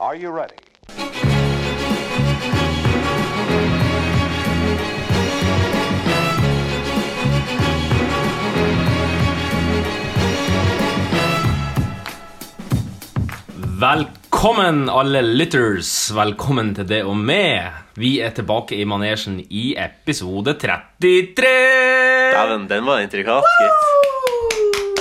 Are you ready? Velkommen, alle lytters. Velkommen til det og meg. Vi er tilbake i manesjen i episode 33. Dæven, den var intrikat, gitt.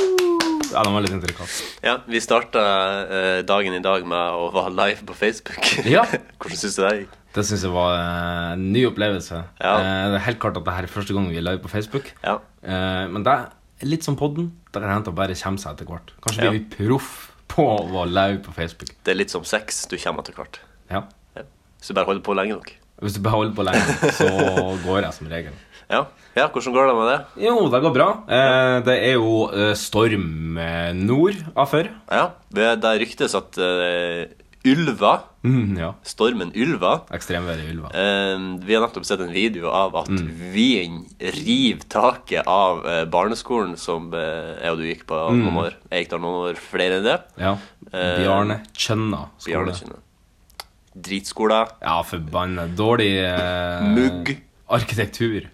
Ja, den var litt intrikat. Ja, vi starta eh, dagen i dag med å være live på Facebook. Ja. Hvordan syns du det gikk? Det syns jeg var eh, en ny opplevelse. Ja. Eh, det er helt klart at det her er første gang vi er live på Facebook. Ja. Eh, men det er litt som podden. Der er det hendt å bare komme seg etter hvert. Kanskje blir Ja. vi proff på å være live på Facebook. Det er litt som sex. Du kommer etter hvert. Ja. Ja. Hvis du bare holder på lenge nok. Hvis du beholder på lenge, så går jeg som regel. Ja, ja hvordan går det med det? Jo, det går bra. Eh, det er jo eh, storm eh, nord av før. Ja, Det det ryktes at eh, Ylva, Mm, ja. stormen Ylva Ekstremværet i ulva. eh, Vi har nettopp sett en video av at Mm. vinden river taket av eh, barneskolen som eh, jeg og du gikk på Mm. noen år. Jeg gikk der noen år flere enn det. Ja. Eh, Bjarne Kjønna skole. Bjarnekinnet. Dritskoler. Ja, forbanna dårlig eh, Mugg. Arkitektur.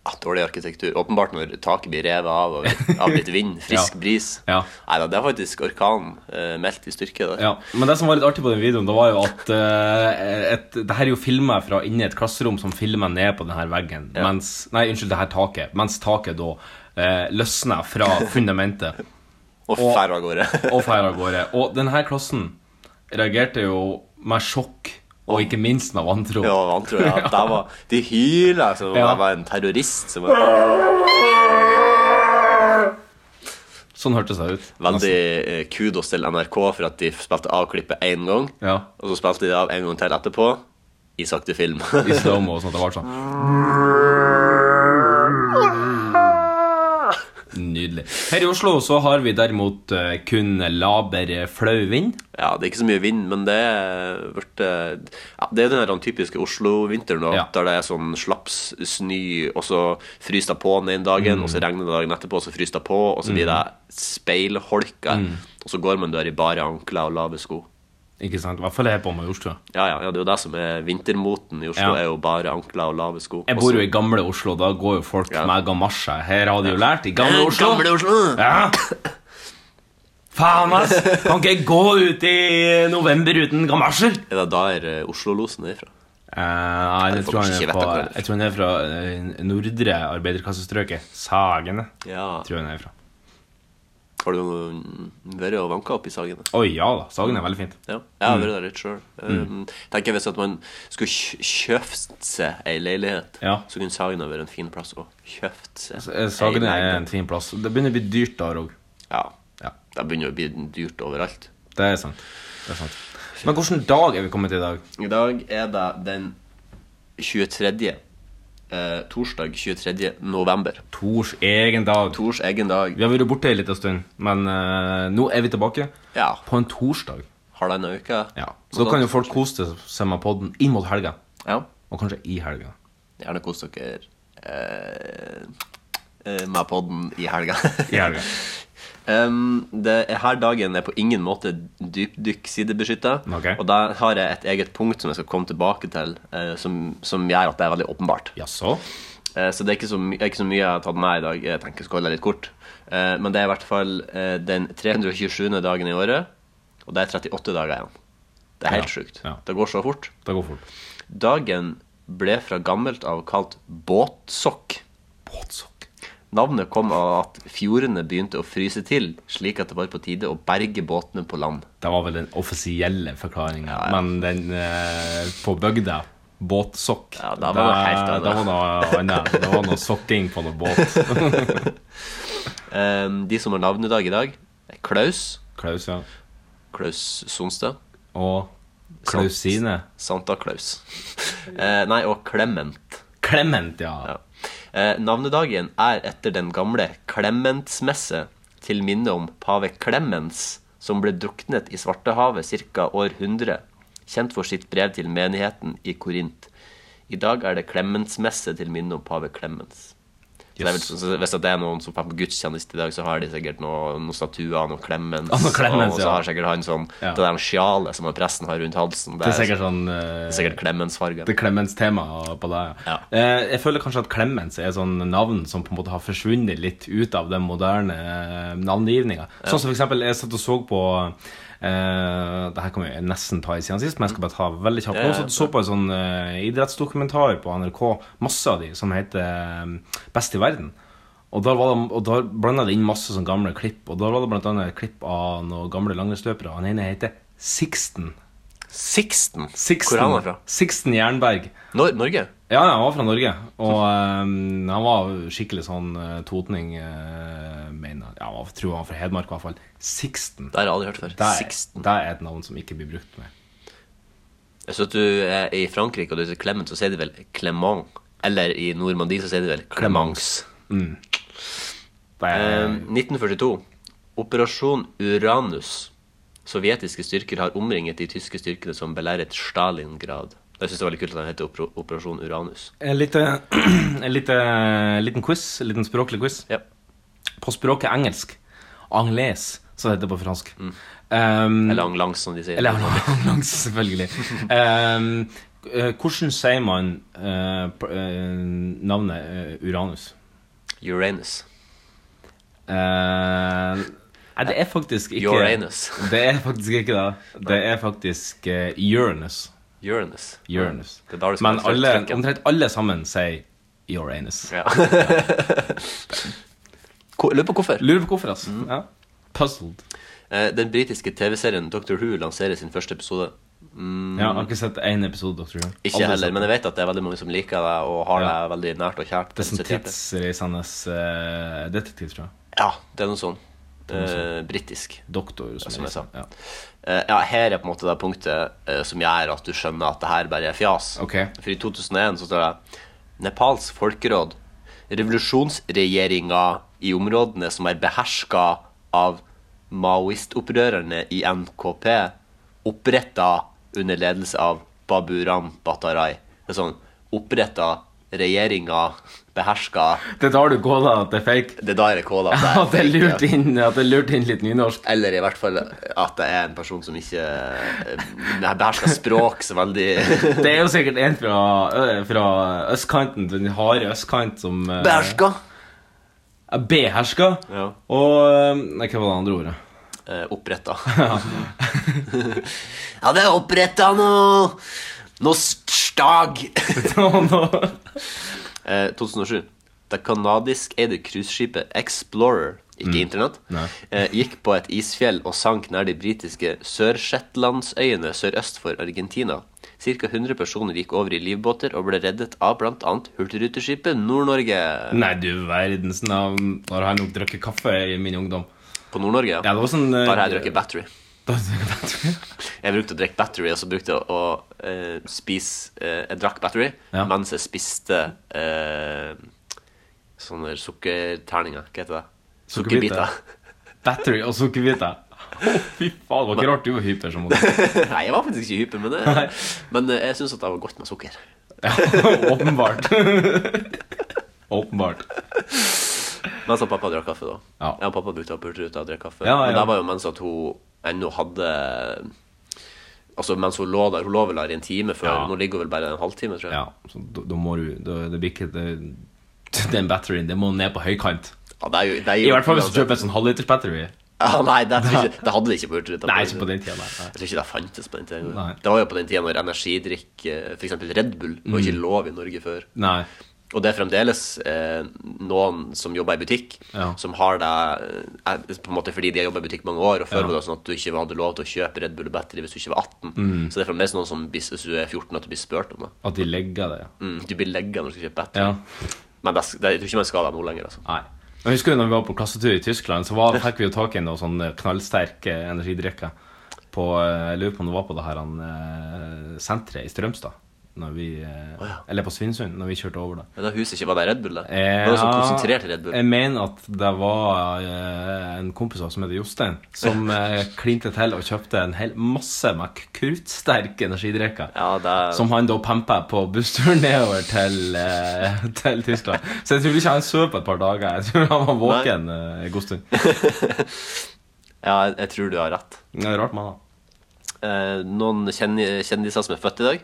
Ah, dårlig arkitektur. Åpenbart når taket blir revet av og- av litt vind. Frisk Ja. bris. Ja. Nei da, det er faktisk orkan eh, meldt i styrke der. Ja, Men det som var litt artig på den videoen, det var jo at eh, et, Det her er jo filma fra inni et klasserom som filmer ned på den her veggen. Mens, nei, unnskyld, det her taket. Mens taket da eh, løsner fra fundamentet Og Og- fær av gårde. og feirer av gårde. Og den her klassen reagerte jo med sjokk, og ikke minst med vantro. ja, han tror jeg. at det Var, de hyler som om Ja. jeg var en terrorist. Som var Sånn hørtes det ut. veldig eh, kudos til NRK for at de spilte av klippet én gang. Ja, Og så spilte de det av en gang til etterpå. I sakte film. I slow-mo og sånt. Det var sånn Nydelig. Her i Oslo så har vi derimot eh, kun laber eh, flau vind. Ja, det er ikke så mye vind, men det er vært, eh, ja, Det er den her typiske Oslo-vinteren, da, Ja. der det er sånn slaps snø, og så fryser det på den ene dagen, og Mm. så regner det dagen etterpå, og så fryser det på, og så blir det speilholka, Mm. og så går man der i bare ankler og lave sko. Ikke sant? I hvert fall her på Majorstua. Ja, ja, ja, det er jo det som er vintermoten i Oslo, Ja. er jo bare ankler og lave sko. Jeg bor jo i gamle Oslo, da går jo folk Ja. med gamasje. Her har de jo lært i gamle Oslo. Gamle Oslo! Ja. Faen, ass! Kan ikke jeg gå ut i november uten gamasjer? Er det der eh, Oslo-losen er ifra? Eh, nei, jeg Folk tror han ikke er vet fra, akkurat. jeg tror han er fra eh, nordre arbeiderklassestrøket. Sagene, Ja. tror jeg han er fra. Har du noen- vært og vanka opp i Sagene? Å ja da, Sagen er veldig fint. Ja, jeg Mm. har vært der litt sjøl. Um, tenker jeg Hvis at man skulle kj- kjøpt seg ei leilighet, Ja. så kunne Sagene vært en fin plass å kjøpt seg. Eh, Sagen ei er en leilighet. fin plass. Det begynner å bli dyrt der òg. Ja. Ja. Det begynner å bli dyrt overalt. Det er sant. Det er sant. Men hvilken dag er vi kommet til i dag? I dag er det den 23. Eh, torsdag 23. november. Tors egen dag. Tors egen dag. Vi har vært borte en liten stund, men eh, nå er vi tilbake Ja. på en torsdag. Har den uke? Ja. Så da kan jo folk kose seg med podden inn mot helga, Ja. og kanskje i helga. Gjerne kos dere eh, eh, med podden i helga. I helga. Um, det, her dagen er på ingen måte dypdykk-sidebeskytta. Ok. Og der har jeg et eget punkt som jeg skal komme tilbake til, eh, som, som gjør at det er veldig åpenbart. Jaså? Eh, så det er ikke så, my ikke så mye jeg har tatt med i dag. Jeg tenker jeg skal holde det litt kort. Eh, men det er i hvert fall eh, den 327. dagen i året, og det er 38 dager igjen. Det er helt Ja, sjukt. ja. Det går så fort. Det går fort. Dagen ble fra gammelt av kalt båtsokk. Båtsokk. Navnet kom av at fjordene begynte å fryse til, slik at det var på tide å berge båtene på land. Det var vel den offisielle forklaringa, men den eh, på bygda Båtsokk. Ja, det var noe helt annet. Det var noe annet. Det var noe sokking på noe båt. Ehm, de som har navnedag i dag, er Klaus, Klaus, ja. Klaus Sonstad, Og Klausine. Santa Klaus. Eh, nei, og Clement. Clement, ja. Ja. Eh, navnedagen er etter den gamle Clementsmesse til minne om pave Clemens, som ble druknet i Svartehavet ca. år 100, kjent for sitt brev til menigheten i Korint. I dag er det Clementsmesse til minne om pave Clemens. Så det er vel, så hvis at det er noen som er på gudstjeneste i dag, så har de sikkert noen, noen statuer, noen Clemens, Ah, noen Clemens, og så ja. har sikkert han sånn Ja. Det der sjalet som han presten har rundt halsen, det Det er er, sikkert sånn det er eh, sikkert Clemens-fargen. Det er Clemens-tema på deg. Ja. Eh, jeg føler kanskje at Clemens er et sånn navn som på en måte har forsvunnet litt ut av den moderne eh, navngivninga. Sånn som for eksempel, jeg satt og så på eh, det her kan vi nesten ta i siden sist, men jeg skal bare ta veldig kjapt. Ja, ja, Jeg satt og så på en sånn eh, idrettsdokumentar på NRK, masse av de, som heter eh, Best i verden. Og da, var det, og da blanda det inn masse sånn gamle klipp. Og da var det blant annet et klipp av noen gamle langrennsløpere. Han ene heter Sixten. Sixten! Sixten, Hvor er han fra? Sixten Jernberg. Nor Norge? Ja, ja, han var fra Norge, og ehm, han var skikkelig sånn eh, totning eh, mener, jeg. Ja, jeg tror han var fra Hedmark i hvert fall. Sixten. Det har jeg aldri hørt før. Det er, Sixten. det er et navn som ikke blir brukt mer. Jeg synes at du er i Frankrike og du sier Clemens, så sier de vel Clement. Eller i Normandie så sier de vel Clemence. Det er, Eh, 1942. Operasjon Uranus. Sovjetiske styrker har omringet de tyske styrkene som belæret Stalingrad. Jeg synes det var litt kult at den heter Opera- Operasjon Uranus. en, lite, en lite, liten quiz, en liten språklig quiz. Ja. På språket engelsk, anglais, som det heter på fransk. Mm. Ehm, Eller Anglangs, som de sier. Eller langs, selvfølgelig. Ehm, eh, hvordan sier man eh, pr- eh, navnet eh, Uranus? Uranus. Eh, Nei, det er faktisk ikke Uranus. Det er faktisk ikke det. Det er faktisk eh, Uranus. Uranus. Uranus. Det er da du skal Men få alle, trykken. omtrent alle sammen sier Uranus. Ja. Ko- Lurer på hvorfor. Lurer på hvorfor, Mm. altså. Ja. Puzzled. Eh, Den britiske TV-serien Dr. Who lanserer sin første episode. Mm, Ja, jeg har ikke sett én episode, Dr. Who. ikke heller, men jeg vet at det er veldig mange som liker deg og har Ja. deg veldig nært og kjært. Det er sånn sitt hjerte. tidsreisende eh, detektiv, tror jeg. Ja, det er noe sånn. er noe Eh, britisk. Doktor, Som jeg sa. Ja. Eh, ja, her er på en måte det punktet eh, som gjør at du skjønner at det her bare er fjas. Ok. For i 2001 så står det Nepals folkeråd. Revolusjonsregjeringa i områdene som er beherska av maoistopprørerne i NKP, oppretta under ledelse av Baburam Batarai. Det er sånn Oppretta regjeringa beherska Det er da du går da, at det er fake. Det er da jeg rekorder at det er At det er lurt inn, at det er lurt inn litt nynorsk. Eller i hvert fall at det er en person som ikke eh, behersker språk så veldig Det er jo sikkert en fra, ø, fra østkanten, den harde østkant, som eh, Beherska! er beherska. Ja. Og eh, Nei, hva var det andre ordet? Eh, oppretta. ja, det er oppretta noe Noe stag! Nå- nå- Eh, 2007. Det kanadisk-eide cruiseskipet Explorer, ikke Internett, Nei. eh, gikk på et isfjell og sank nær de britiske Sør-Shetlandsøyene sørøst for Argentina. Ca. 100 personer gikk over i livbåter og ble reddet av bl.a. Hurtigruteskipet Nord-Norge. Nei, du verdens navn. Da har jeg nok drukket kaffe i min ungdom. På Nord-Norge, ja. Ja, det var sånn eh, Da har jeg drukket battery. da har jeg drukket- Jeg brukte å drikke battery, og så brukte jeg å eh, spise eh, Jeg drakk battery Ja. mens jeg spiste eh, sånne sukkerterninger. Hva heter det? Sukkerbiter. Sukkerbiter. Battery og sukkerbiter. Å, fy faen, det var ikke rart du var hyper som ungdom. Nei, jeg var faktisk ikke hyper, men, det, men eh, jeg syns at det var godt med sukker. Ja, åpenbart. Åpenbart. Mens at pappa drakk kaffe, da. Ja. Jeg og pappa brukte å pulte ut og drikke kaffe. Ja, ja. Men det var jo mens at hun ennå hadde Altså mens hun lå der. Hun lå vel der i en time før. Ja. Nå ligger hun vel bare en halvtime, tror jeg. Ja, så da, da må du da, Det blir ikke det, Den batterien, det må ned på høykant. Ja, det er jo, det er jo, I hvert fall hvis du kjøper en sånn halvliters battery. Ja, nei, det, tror jeg ikke, det hadde de ikke på Hurtigruta. Nei, ikke på den tida, nei. Jeg tror ikke det fantes på den tiden. Nei. Det var jo på den tida når energidrikk, eh, for eksempel Red Bull, var Mm. ikke lov i Norge før. nei. Og det er fremdeles eh, noen som jobber i butikk, Ja. som har det eh, er- på en måte fordi de har jobba i butikk mange år, og før var det sånn at du ikke hadde lov til å kjøpe Red Bull Battery hvis du ikke var 18. Mm. Så det er fremdeles noen som, blir- hvis du er 14, at du blir spurt om det. At de legger det. Mm, du blir legga når du skal kjøpe battery. Ja. Men det, det, jeg tror ikke man skal det nå lenger, altså. Nei. Men husker du når vi var på klassetur i Tyskland, så var, fikk vi jo tak i noen sånne knallsterke energidrikker på eh, Jeg lurer på om det var på det her han, eh, senteret i Strømstad. når vi, eh, eller på Svinesund, når vi kjørte over det. Men da huset ikke var der Red Bull, da. Eh, Det var så ja, Eh, konsentrert Red Bull. Jeg mener at det var eh, en kompis av oss som heter Jostein, som eh, klinte til og kjøpte en hel masse med kruttsterke energidrikker. Ja, det er... Som han da pampa på bussturen nedover til, eh, til Tyskland. Så jeg tror ikke han sov på et par dager. Jeg tror han var våken eh, en god stund. ja, jeg- jeg tror du har rett. Det er rart, mann. da. Eh, noen kjenni- kjendiser som er født i dag.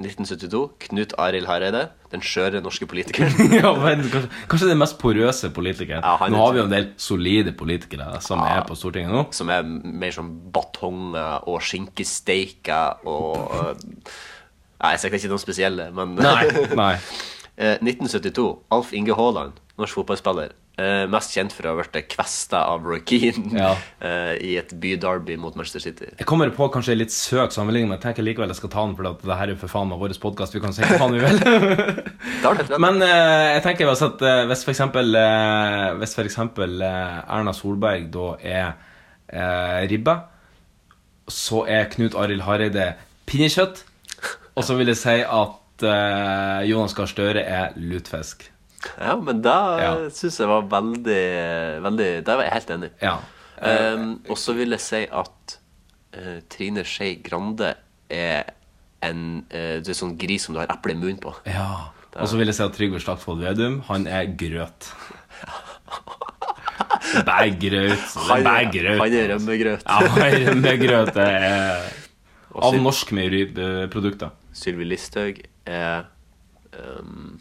1972. Knut Arild Hareide. Den skjøre norske politikeren. ja, men kanskje, kanskje den mest porøse politikeren. Ja, han nå er- har vi jo en del solide politikere som Ja. er på Stortinget nå. Som er mer sånn batonger og skinkesteiker og eh, Nei, jeg sikkert ikke noen spesielle, men Nei. Eh, 1972. Alf Inge Haaland, norsk fotballspiller. Eh, mest kjent for å ha blitt kvesta av Roy Keane Ja. eh, i et byderby mot Manchester City. Jeg kommer på kanskje en litt søk sammenligning, men jeg tenker likevel jeg skal ta den, for at det her er jo for faen meg vår podkast. Vi kan si hva faen vi vil. Det har du helt rett. Men eh, jeg tenker altså at eh, hvis for eksempel, eh, hvis for eksempel eh, Erna Solberg da er eh, ribbe, så er Knut Arild Hareide pinnekjøtt. Og så vil jeg si at eh, Jonas Gahr Støre er lutefisk. Ja, men da ja. Ja. syns jeg var veldig, veldig Der var jeg helt enig. Ja. Um, og så vil jeg si at eh, Trine Skei Grande er en eh, Du er sånn gris som du har eple i munnen på. Ja. Og så vil jeg si at Trygve Slagsvold Vedum, han er grøt. Bæ grøt. Han Bæ er, grøt. han er rømmegrøt. Ja, rømmegrøt det er Og Av Syl norsk meieriprodukter. Sylvi Listhaug er um,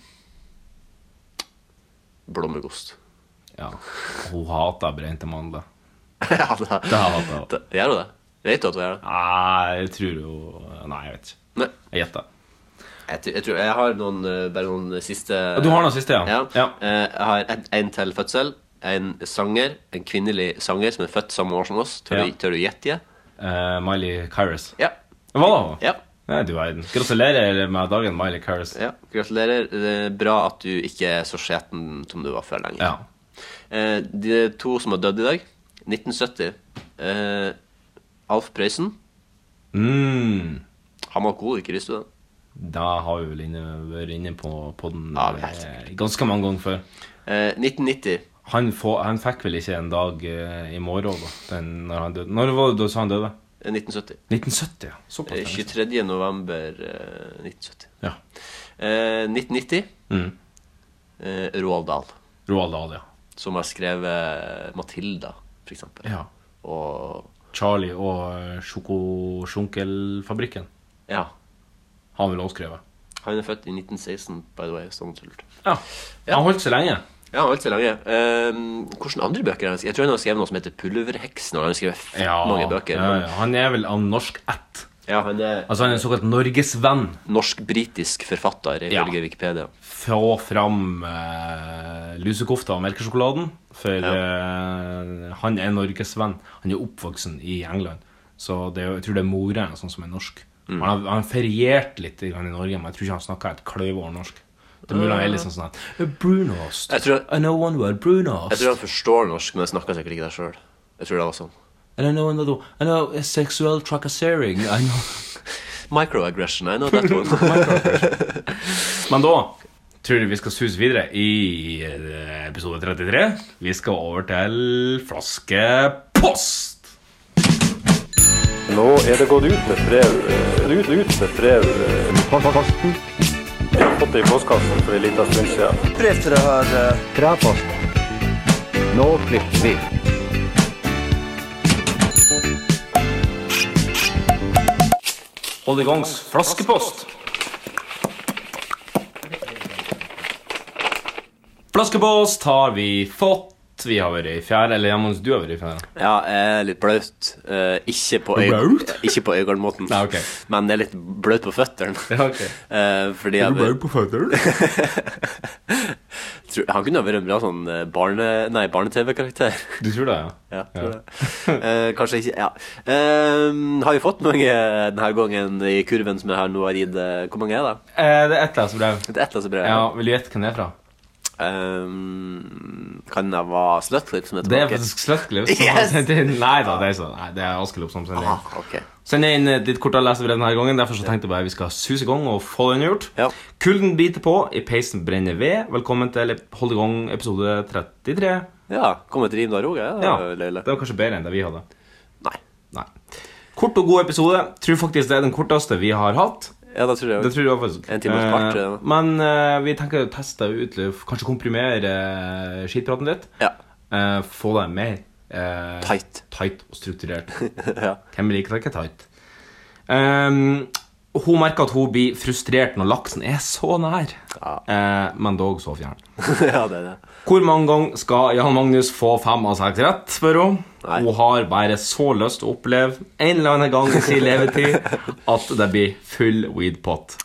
blåmuggost. Ja. Hun hater brente mandler. ja, da, Det hater hun. da, gjør hun det? Vet du at hun gjør det? Nei, jeg tror hun Nei, jeg vet ikke. Nei. Jeg gjetter. Jeg, tror- jeg tror jeg har noen, eh, bare noen siste Du har noe siste, ja? Ja. Eh, Jeg har en, en til fødsel. En sanger, en kvinnelig sanger som er født samme år som oss. Tør, Ja. du, tør du gjette? det? Eh, Miley Cyrus. Ja. Hva da? hun? ja. Nei, du verden. Gratulerer med dagen, Miley Cyrus. ja. Gratulerer. Det er bra at du ikke er så skjeten som du var før lenger. Ja. Eh, De to som har dødd i dag. 1970. Eh, Alf Prøysen. Mm. Han var god, ikke visste du det? Da har vi vel inne, vært inne på, på den Ja, det er helt eh, ganske mange ganger før. Eh, 1990. Han, få, han fikk vel ikke en dag eh, i morgen da, den, når han døde. Når var det du sa han døde? Eh, 1970. 1970, ja. Eh, Såpass. 23. november eh, 1970. Ja. Eh, 1990. Mm. Eh, Roald Dahl, Roald Dahl, ja. som har skrevet 'Matilda', for eksempel. ja. Og Charlie og eh, sjokosjunkelfabrikken ja. har han vel også skrevet. Han er født i 1916, by the way. hvis noen lurte. Ja. Han holdt seg lenge. Ja, alt så lange. Um, Hvilke andre bøker har han skrevet? Jeg tror han har skrevet noe som heter 'Pulverheksen'. og Han har skrevet fett mange bøker. Ja, men- ja. Han er vel av norsk ett. Ja, han er Altså han er en såkalt norgesvenn. norsk-britisk forfatter, ifølge Wikipedia. Få fram eh, lusekofta og melkesjokoladen, for eh, han er norgesvenn. Han er oppvoksen i England, så det er, jo- jeg tror det er mora hans sånn som er norsk. Mm. Han, har- han ferierte litt i grann i Norge, men jeg tror ikke han snakka et kløyvår norsk. Det er mulig han er litt sånn sånn at, Brunost. Jeg tror- I know one word, brunost. Jeg tror han forstår norsk, men jeg snakker sikkert ikke det sjøl. Jeg tror det var sånn. And I know another I know uh, sexual trakassering. I know. Microaggression, I know that one. Men da tror jeg vi skal suse videre i eh, episode 33. Vi skal over til flaskepost. Nå er det gått ut med brev. eh, Ut, ut med brev. eh, Post, post, posten. Jeg har fått det i postkassen for en liten stund siden. Hold i gangs flaskepost. Flaskepost har vi fått. Vi har vært i fjerde, eller ja, Mons, du har vært i fjerde. Ja, jeg er litt blaut. Eh, ikke på, øy Blaut? ikke på Øygarden-måten. Nei, ok. Men jeg er litt blaut på føttene. Ja, ok. Eh, fordi jeg, på føttene? tror, han kunne ha vært en bra sånn eh, barne, nei, barne-TV-karakter. Du tror det, ja? Ja, tror det. Eh, kanskje ikke Ja. Eh, har vi fått mange denne gangen i kurven som jeg har nå har gitt? eh, Hvor mange er det? Eh, det er ett leserbrev. Det er ett eller annet brev. Ja, vil du gjette hvem det er fra? Ehm, kan det være Slutclip som er Det er tilbake? faktisk Slutclips. Yes! nei da, det er sånn. Nei, det er Askelopp som sender inn. ah, ok. Send inn eh, ditt korte lesebrev denne gangen. Derfor så tenkte jeg bare vi skal suse i gang og få den gjort. Ja. Kulden biter på, i peisen brenner ved. Velkommen til Hold i gang episode 33. Ja, kom et rim da, Roger. Ja, Ja, det er det løyle. var kanskje bedre enn det vi hadde. Nei. Nei. Kort og god episode. Tror faktisk det er den korteste vi har hatt. Ja, da tror jeg Det tror jeg faktisk. En time og et kvart, Eh, ja. Men eh, vi tenker å teste ut litt, Kanskje komprimere eh, skitpraten litt. Ja. Eh, få det mer eh, Tight. tight og strukturert. ja. Hvem liker det ikke tight? Ehm, hun merker at hun blir frustrert når laksen er så nær, Eh, men dog så fjern. ja, det er det. Hvor mange ganger skal Jan Magnus få fem av seks rett, spør hun. Nei. Hun har bare så lyst til å oppleve en eller annen gang i sin levetid at det blir full weedpot.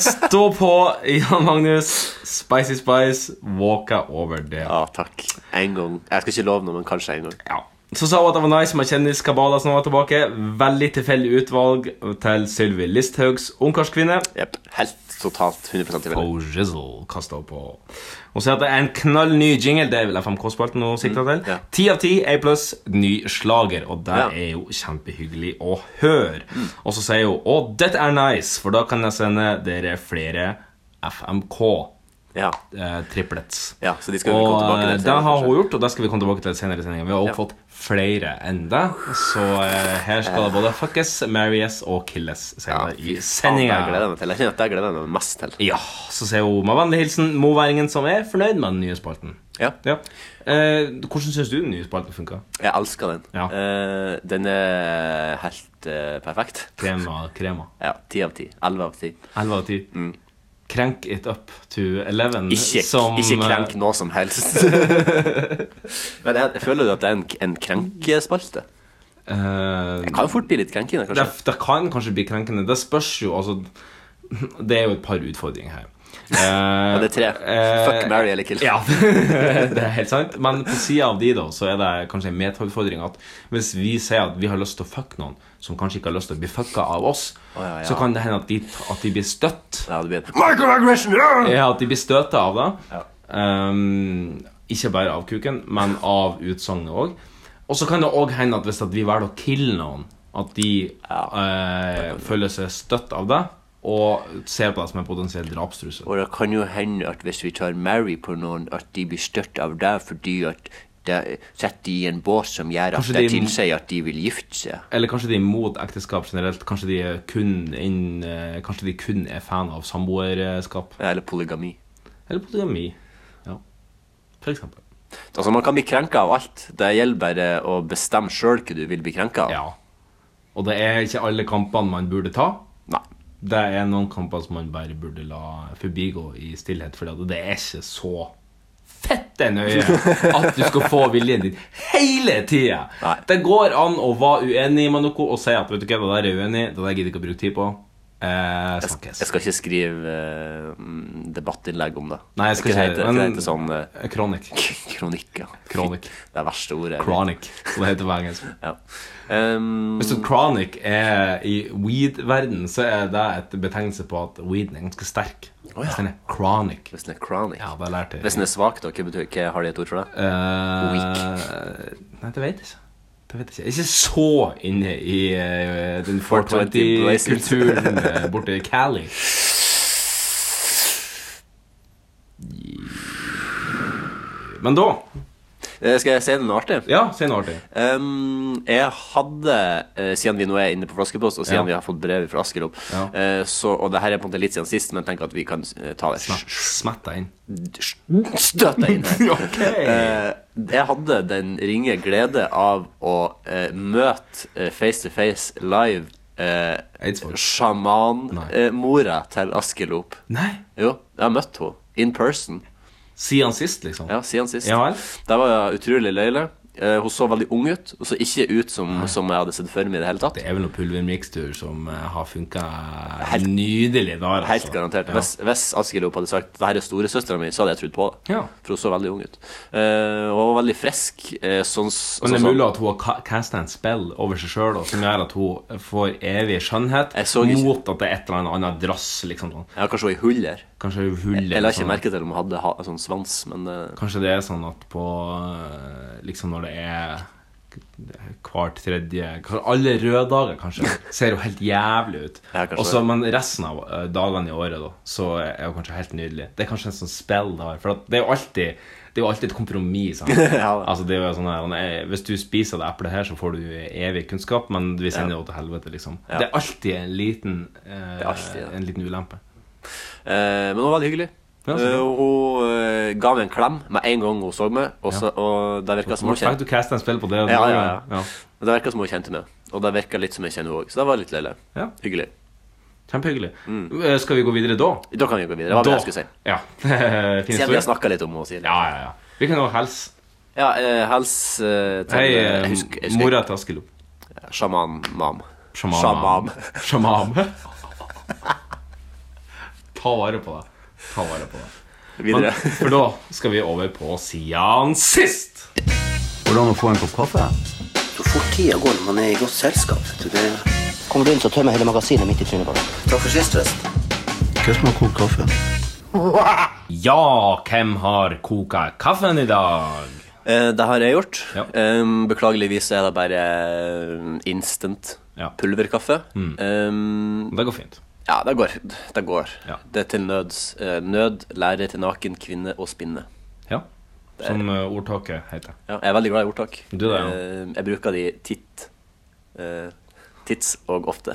Stå på, Jan Magnus. Spicy Spice, walka over det. Ja, takk. En gang. Jeg skal ikke love noe, men kanskje en gang. Ja. Så sa hun at det var nice med kjendiskabaler som var tilbake. Veldig tilfeldig utvalg til Sylvi Listhaugs ungkarskvinne. Jep. Helt totalt 100 tilfeldig. Og Rizzle kastet opp på Hun sier at det er en knall ny jingle. Det er vel FMK-spalten hun sikter til. Mm, ja. Ti av ti, A pluss, ny slager. Og det Ja. er jo kjempehyggelig å høre. Og så sier hun å, dette er nice, for da kan jeg sende dere flere FMK. Ja. Eh, triplets. ja, så de skal vi komme Og tilbake eh, til. det senere, har kanskje. hun gjort, og det skal vi komme tilbake til senere i sendingen. Vi har også Ja. fått flere enn det, så eh, her skal det både fuckes, marries og killes senere i Ja, det gleder sendinga. jeg meg til. Jeg kjenner at det gleder jeg meg mest til. Ja, så sier hun med vennlig hilsen moværingen som er fornøyd med den nye spalten. Ja. Ja. Eh, hvordan syns du den nye spalten funka? Jeg elsker den. Ja. Eh, den er helt eh, perfekt. Krema, krema. Ja, ti av ti. Elleve av ti. Elleve av ti. Crank it up to eleven. Mm. eh, Ikke, ikke krenk noe som helst. Men jeg, føler du at det er en, en krenkespalte? eh, Kan jo fort bli litt krenkende, det, kanskje. det kan kanskje bli krenkende. Det spørs jo, altså Det er jo et par utfordringer her. Eh, det er tre. eh, Fuck, marry eller kill. Ja, det er helt sant. Men på sida av de, da, så er det kanskje en metautfordring at hvis vi sier at vi har lyst til å fucke noen som kanskje ikke har lyst til å bli fucka av oss, Å, ja, ja. så kan det hende at de, at de blir støtt. Ja, det blir en Microaggression! Ja! Ja, at de blir støta av det. Ja. Ehm, ikke bare av kuken, men av utsagnet òg. Og så kan det òg hende at hvis at vi velger å kille noen, at de eh, føler seg støtt av det, og ser på det som en potensiell drapstrussel. Og det kan jo hende at hvis vi tar marry på noen, at de blir støtt av deg fordi at det setter de i en bås som gjør at Kanskje det de- tilsier at de vil gifte seg. Eller kanskje de er imot ekteskap generelt. Kanskje de er kun, inn, eh, kanskje de kun er fan av samboerskap. Eller polygami. Eller polygami. Ja. For eksempel. Altså, man kan bli krenka av alt. Det gjelder bare å bestemme sjøl hva du vil bli krenka av. Ja. Og det er ikke alle kampene man burde ta. Nei. Det er noen kamper som man bare burde la forbigå i stillhet, for det er ikke så fette nøye at du skal få viljen din hele tida. Nei. Det går an å være uenig med noe og si at vet du hva, det der er jeg uenig i, det der gidder jeg ikke å bruke tid på. Eh, snakkes. Jeg skal ikke skrive eh, mm, debattinnlegg om det. Nei, jeg skal Hva ikke heter- det, hva men- heter sånn eh, Kronikk. kronikker. Kronikk. Det er verste ordet. jeg vet. Chronic, som det heter på engelsk. Ja. Um, Hvis du chronic er i weed-verden, så er det et betegnelse på at weeden er ganske sterk. Hvis den er chronic. hvis den er chronic. Ja, det lærte jeg. Hvis den er svak, da, hva, betyr, hva har de et ord for det? Eh, Nei, det vet jeg ikke. Det vet jeg ikke. Jeg er ikke så inne i eh, den 420 blazes. 420-kulturen eh, borte i Cali. Men da Eh, skal jeg si noe artig? Ja, si noe artig. Um, jeg hadde, eh, siden vi nå er inne på Flaskepost, og Ja. siden vi har fått brev fra Askerop, Ja. eh, så, og det her er på en måte litt siden sist, men tenk at vi kan eh, ta det Smatt- Smatt deg inn. Støt deg inn her. Ok. Eh, jeg hadde den ringe glede av å eh, møte eh, face to face live eh, Eidsvåg. Nei. sjamanmora til Askelop. Nei. Jo, jeg har møtt henne in person Siden sist, liksom? ja, siden sist. Ja vel. Det var utrolig løyelig. Eh, hun så veldig ung ut, og så ikke ut som, som jeg hadde sett for meg i det hele tatt. Det er vel noe pulvermikstur som eh, har funka Helt- nydelig der. altså. Helt garantert. Ja. Hvis, hvis Askelop hadde sagt det her er storesøstera mi, så hadde jeg trodd på det. Ja. For hun så veldig ung ut. Eh, hun var veldig frisk. eh, sånn, s- Men det er sånn- mulig at hun har ka- castet en spill over seg sjøl som gjør at hun får evig skjønnhet Jeg så ikke- mot at det er et eller annet annet drass. liksom sånn. Ja, kanskje hun er i hull der. Kanskje det er hull Jeg eller la ikke sånn. merke til om hun hadde ha, sånn svans, men eh, Kanskje det er sånn at på eh, Liksom når det er hvert tredje kanskje Alle røde dager, kanskje. Ser jo helt jævlig ut. Ja, kanskje Også, det. men resten av eh, dagene i året da så er jo kanskje helt nydelig. Det er kanskje en sånn spill det har. For at det er jo alltid Det er jo alltid et kompromiss. sant? Ja. altså, det er jo sånn her, eh, Hvis du spiser det eplet her, så får du evig kunnskap, men vi sender det jo til helvete, liksom. Ja. Det er alltid en liten, eh, er alltid det. en liten ulempe. Eh, men hun var veldig hyggelig. Ja, så Eh, bra. hun eh, ga meg en klem med en gang hun så meg, og, så, og det virka som hun Hvorfor fikk kjente du casta en spill på det? ja, ja, ja. Det virket som hun kjente meg, og det virka litt som jeg kjenner henne òg, så det var litt leilig. Ja. Hyggelig. Kjempehyggelig. Eh, Skal vi gå videre da? Da kan vi gå videre. Mm. Det var det da. jeg skulle si. Ja. Fin Siden vi historie. har snakka litt om henne siden. Ja, ja, ja. Vi kan jo helse. Ja, eh, hels eh, til Hei, eh, eh, jeg husker, jeg husker, mora til Askelop. Sjaman-mam. Sjaman. Sjaman. Sjaman. Ta vare på deg. Ta vare på deg. Men, Videre. for da skal vi over på siden sist. Hvordan å få en kopp kaffe? Så fort tida går når man er i godt selskap. vet du, Det Kommer du inn, så tømmer jeg hele magasinet midt i trynet på deg. Takk for sist, forresten. Hva som har kokt kaffe? Ja, hvem har koka kaffen i dag? Eh, det har jeg gjort. Ja. Em, beklageligvis er det bare eh, instant Ja. Mm. pulverkaffe. Em, Det går fint. ja, det går. Det, går. Ja. det er til nøds. Eh, nød lærer til naken kvinne å spinne. Ja. Som eh, ordtaket heter. Ja, jeg er veldig glad i ordtak. Du da, ja. Em, jeg bruker de titt. eh, tids og ofte.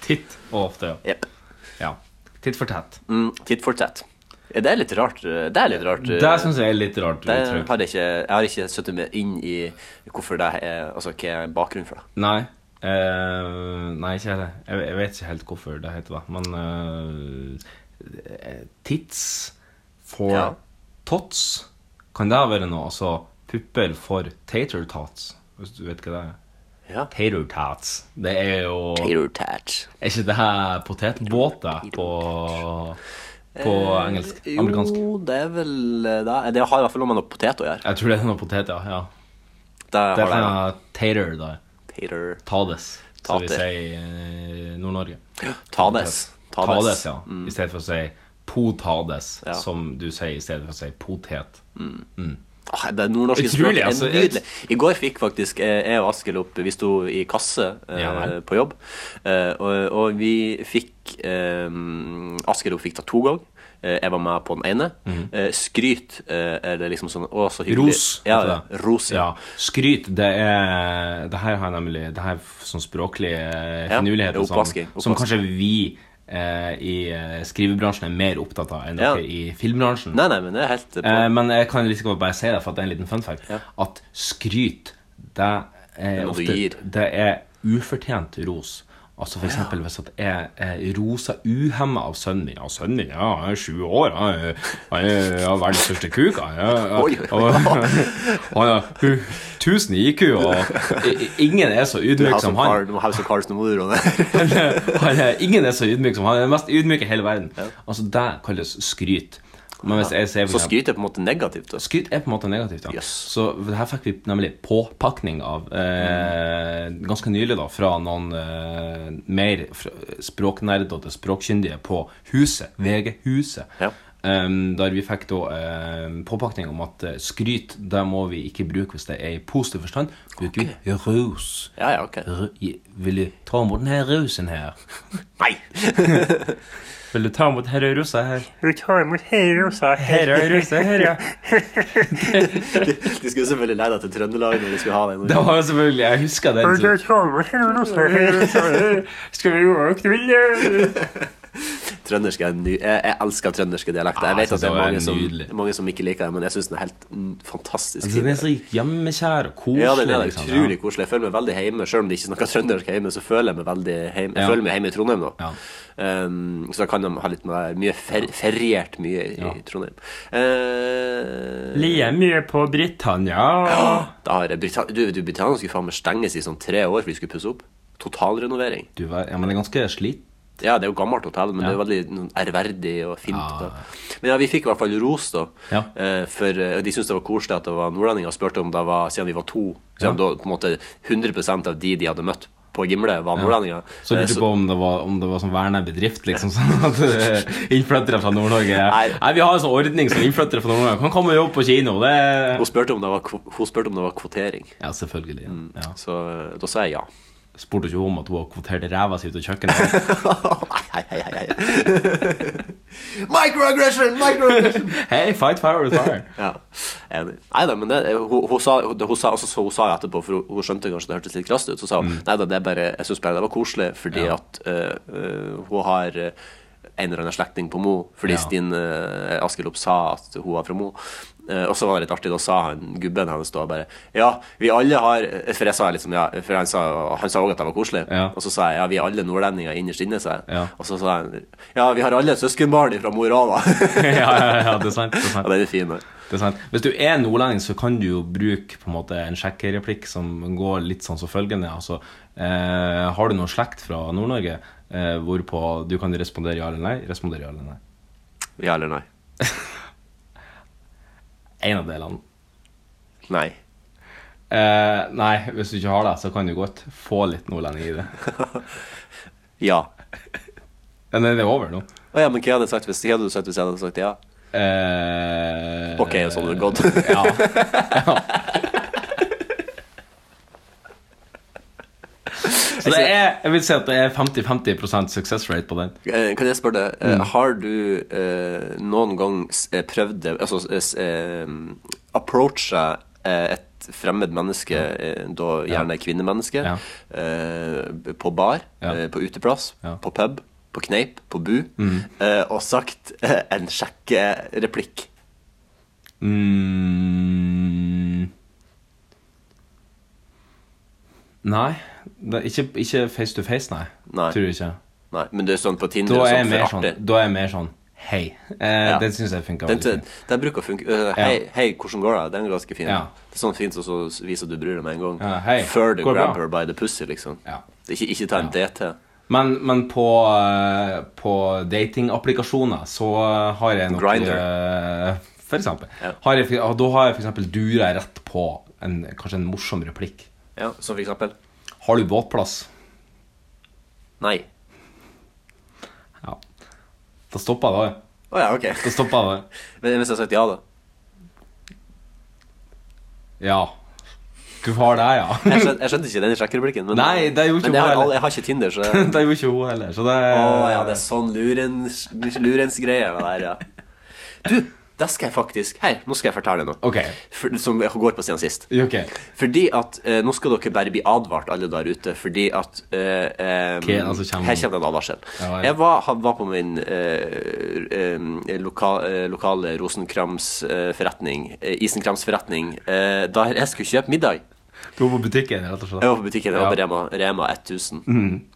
Titt og ofte. ja. Jepp. Ja. Titt for tett. Mm, titt for tett. Eh, Det er litt rart. eh, Det er litt rart. eh, Det syns jeg er litt rart. det uttrykk. har jeg, ikke, jeg har ikke satt meg inn i hvorfor det er, altså hva er bakgrunnen for det. Nei. eh, nei, ikke heller. Jeg, jeg vet ikke helt hvorfor det heter det. Men eh, tits for Ja. tots, kan det være noe? Altså pupper for tater tots, hvis du vet hva det er. Ja. Tater tots. Det er jo Er Tater tat. ikke det her potetbåter på, på engelsk? Eh, Amerikansk? Jo, det er vel eh, det. Det har i hvert fall noe med noe potet å gjøre. Jeg tror det er noe potet, ja. ja. Det Det har er sånn, det. fra tater, da. Tater. Tades, som vi Tater. sier i eh, Nord-Norge. Tades. Tades, ja. I stedet for å si potades, mm. Ja. som du sier i stedet for å si potet. Ah, det nordnorske Utrolig, språket er altså. nydelig. I går fikk faktisk eh, jeg og Askild opp Vi sto i kasse eh, Ja vel. på jobb, eh, og, og vi fikk eh, Askild opp fikk ta to ganger. Eh, Jeg var med på den ene. Eh, Skryt eh, er det liksom sånn Å, så hyggelig. Mhm. Ros. Ja, heter det. ros. Ja. Ja. Skryt, det er Det her har jeg nemlig Det her er f- sånn språklige eh, Ja, finurligheter som, oppvasking, som oppvasking. kanskje vi eh, i eh, skrivebransjen er mer opptatt av enn Ja. dere i filmbransjen. Nei, nei, men det er helt på. Eh, men jeg kan liksom bare si det, for at det er en liten fun fact. At skryt, det er, er noe du ofte, gir. det er ufortjent ros. Altså for eksempel hvis at jeg eh, rosa uhemmet av sønnen min. Ja, sønnen min ja, han er sju år. Han er, han er ja, verdens største kuk. Han er, Oi, oi, oi. han er hu- 1000 i IQ, og i- i- ingen er så ydmyk House som of Eh, han. Cards- House of Cards nå må du roe ned. Han er, han er, ingen er så ydmyk som han. Han er den mest ydmyke i hele verden. Altså, det kalles skryt. Men hvis jeg sier for Så eksempel- skryt er på en måte negativt. altså. da. Skryt er på en måte negativt, ja. Yes. Så her fikk vi nemlig påpakning av eh, ganske nylig, da, fra noen eh, mer fra- språknerder til språkkyndige på Huset, VG-huset. Mm. Ja. Em, der vi fikk da eh, påpakning om at eh, skryt det må vi ikke bruke hvis det er i positiv forstand. Bruker vi rus. Ja, ja, ok. Ru- i- Vil du ta imot denne rusen her? Nei! Vil du ta imot denne rusa her? Return with haters, I hate Her er rusa her, ja. De skulle selvfølgelig leie deg til Trøndelag når de skulle ha deg. Det var jo selvfølgelig Jeg husker den. så- Return with haters, I hate Skal vi walk the window? Trøndersk er en ny Jeg, jeg elsker trønderske dialekter. Jeg Ja, Ah, jeg vet at det synes er det var mange som, nydelig. mange som ikke liker det, men jeg syns den er helt mm, fantastisk. Altså, den er så hjemmekjær og koselig. ja, den er liksom, utrolig koselig. Jeg føler meg veldig hjemme. Selv om det ikke er noe trøndersk hjemme, så føler jeg meg veldig hjemme. Jeg Ja. føler meg hjemme i Trondheim nå. Ja. Um, så da kan de ha litt mer mye fer, feriert mye i, i Trondheim. Eh, Lier mye på Britannia. da har jeg Britann du, du, Britannia skulle faen meg stenges i sånn tre år for de skulle pusse opp. Totalrenovering. Du, hva- ja, men det er ganske slitt. Ja, det er jo gammelt hotell, men det er veldig noen ærverdig og fint. Ja. Da. Men ja, vi fikk i hvert fall ros, da. Ah. Ja. eh, For eh, de syntes det var koselig at det var nordlendinger, og spurte om det var siden vi var to. Siden da på en måte 100 av de de hadde møtt på Gimle, var nordlendinger. Så Eh, lurte jeg på om det var, om det var sånn verna bedrift, liksom. Sånn at eh, innflyttere fra Nord-Norge Nei. Nei, vi har en sånn ordning som innflyttere fra Nord-Norge kan komme og jobbe på kino. Det hun, spurte om det var, kvo- hun spurte om det var kvotering, Ja, selvfølgelig. Ja. Ja. så eh, da sa jeg ja. Spurte ikke hun om at hun har kvotert ræva si ut av kjøkkenet? Hei, hei, hei, hei. Microaggression! Microaggression! Hei, fight fire with fire. ja, enig. Nei da, men det, hun, hun, sa, hun, hun, sa, altså, så hun sa jo etterpå, for hun, hun skjønte kanskje det hørtes litt krast ut, så sa hun nei da, det er bare, jeg syns bare det var koselig fordi Mm. Ja. at eh, eh, hun har eh, en eller annen slektning på Mo, fordi Ja. Stine uh, Askelopp sa at hun var fra Mo. Eh, og så var det litt artig, da sa han gubben hennes da bare Ja, vi alle har eh, For jeg sa liksom ja, for han sa han sa òg at det var koselig. Ja. Og så sa jeg ja, vi er alle nordlendinger innerst inne, sa jeg. Ja. Og så sa han ja, vi har alle søskenbarn fra Mo i Rana. ja, ja, ja, det er sant. Det er ja, sant. den er fin. da. Det er sant. Hvis du er nordlending, så kan du jo bruke på en måte en sjekkereplikk som går litt sånn som følgende. Altså, eh, har du noe slekt fra Nord-Norge, eh, hvorpå du kan respondere ja eller nei? Respondere ja eller nei. Ja eller nei? En av delene. Nei. Eh, nei, hvis du ikke har det, så kan du godt få litt nordlending i det. Ja. Men den er over nå. Å ja, men hva hadde jeg sagt hvis, hva hadde du sagt hvis jeg hadde sagt ja? Eh, Ok, sånn er det gått. ja. Ja. Så det er, jeg vil si at det er 50-50 success rate på den. Eh, Kan jeg spørre deg, eh, Mm. har du eh, noen gang s- eh, prøvd det Altså s- eh, approacha eh, et fremmed menneske, eh, da gjerne kvinnemenneske, Ja. eh, b- på bar, Ja. eh, på uteplass, Ja. på pub, på kneip, på bu, eh, og sagt eh, en sjekkereplikk? Mm. Nei. Det, er ikke, ikke face to face, nei. Nei. Tror jeg ikke. Nei, men det er sånn Da på Tinder og er, jeg sånn mer for sånn, artig. da er jeg mer sånn Hei. Eh, Ja. Den syns jeg funka Den, veldig den, fint. den bruker å funke Eh, hei, hei, hvordan går det? Den er ganske fin. Ja. Det er sånn fint, og så viser du bryr deg med en gang. Ja, hei, Før du går det grab bra? her by the pussy, liksom. Ja. Det er Ikke, ikke ta en DT. Men, men på, eh, på datingapplikasjoner så eh, har jeg nok Grindr. eh, For eksempel. Ja. Har jeg, ja, da har jeg for eksempel dura rett på en, kanskje en morsom replikk. Ja, som for eksempel Har du båtplass? Nei. Ja. Da stopper jeg det. Å ja, ok. Da stopper jeg det. Men hvis jeg har sagt ja, da? Ja. Du har det, ja. Jeg skjønte, jeg skjønte ikke den sjekkereplikken. Men, Nei, det gjorde ikke men jeg, hun har, heller. eh, alle- jeg har ikke Tinder, så det er jo ikke hun heller, så det Å ja, det er sånn lurens, lurensgreie det der, ja. Du, det skal jeg faktisk Her, nå skal jeg fortelle deg noe. Ok. For, som jeg går på siden sist. Ja, Ok. Fordi at eh, Nå skal dere bare bli advart, alle der ute, fordi at eh, eh, Ok, altså kommer- Her kommer det en advarsel. Ja, ja. Jeg var, ha- var på min eh, eh, loka, eh, lokale Rosenkramsforretning, eh, Isenkramsforretning, eh, da jeg skulle kjøpe middag. Du var på butikken, rett og slett. Jeg var på butikken, jeg var på Ja. Mhm. Rema, Rema 1000.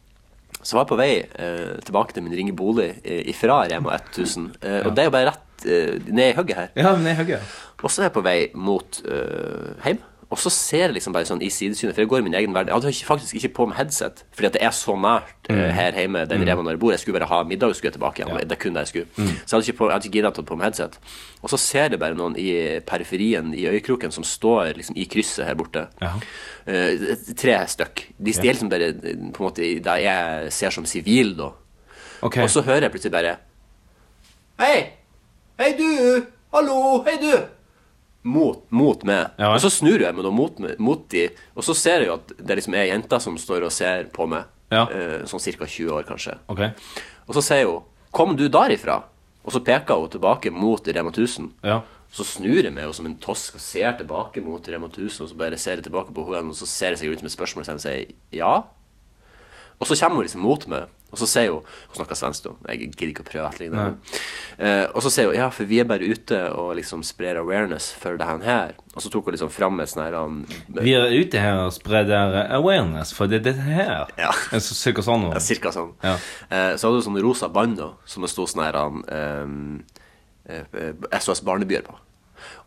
Så var jeg på vei eh, tilbake til min ringe bolig eh, ifra Rema 1000. Eh, Og det er jo bare rett eh, ned i hugget her. Ja, men jeg hugger. Og så er jeg på vei mot øh, hjem, og så ser jeg liksom bare sånn i sidesynet, for jeg går i min egen verden. Jeg hadde ikke- faktisk ikke på meg headset, fordi at det er så nært øh, her hjemme, den reven når jeg bor. Jeg skulle bare ha middag og skulle tilbake igjen. Det er kun det jeg skulle. Så jeg hadde ikke, på- jeg hadde ikke giddet å ta på meg headset. Og så ser jeg bare noen i periferien, i øyekroken, som står liksom i krysset her borte. Ja. Eh, tre stykk. De, de er liksom bare eh, på en måte i- det jeg ser som sivil, da. Ok. Og så hører jeg plutselig bare Hei! Hei, du! Hallo! Hei, du! Mot, mot meg. Ja. Og så snur jeg meg da mot, meg- mot de, og så ser jeg jo at det liksom er jenta som står og ser på meg. Ja. Eh, sånn ca. 20 år, kanskje. Ok. Og så sier hun 'Kom du derifra?' Og så peker hun tilbake mot Rema 1000. Ja. Så snur jeg meg jo som en tosk og ser tilbake mot Rema 1000, og så bare ser jeg tilbake på henne, og så ser jeg seg rundt med spørsmål, og så sier ja. Og så kommer hun liksom mot meg, og så sier hun Hun snakker svensk, da. Jeg gidder ikke å prøve å etterligne henne. Eh, og så sier hun ja, for vi er bare ute og liksom sprer awareness for det her. Og så tok hun liksom fram et sånn her han- Vi er ute her og spreder awareness for det, det her. Ja. En så cirka sånn. Ja, cirka sånn. Ja. Eh, så hadde hun sånn rosa bånd da, som det sto sånn her han, ehm, eh, eh, SOS Barnebyer på.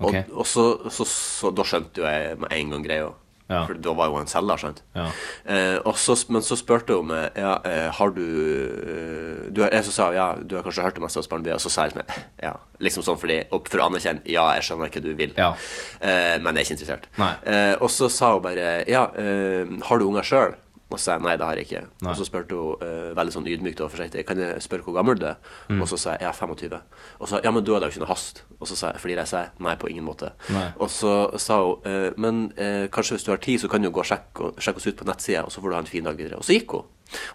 Og, Ok. og så, så, så da skjønte jo jeg med en gang greia. Ja. For da var jo en selger, sant. Ja. Eh, og så, men så spurte hun meg ja, eh, har du, eh, du har- Jeg så sa ja, du har kanskje hørt om SOS Barnebyer? Og så sa jeg liksom ja. Liksom sånn fordi, og for å anerkjenne ja, jeg skjønner hva du vil, Ja. eh, men jeg er ikke interessert. Nei. Eh, og så sa hun bare ja, eh, har du unger sjøl? Og så sa jeg nei, det har jeg ikke. Og så spurte hun eh, veldig sånn ydmykt og forsiktig kan jeg spørre hvor gammel du er. Mm. Og så sa jeg jeg er 25. Og så sa jeg, ja, men du har da ikke noe hast. Og så sa jeg fordi jeg sa nei, på ingen måte. Nei. Og så sa hun eh, men eh, kanskje hvis du har tid, så kan du jo gå og sjekke, og sjekke oss ut på nettsida, og så får du ha en fin dag videre. Og så gikk hun.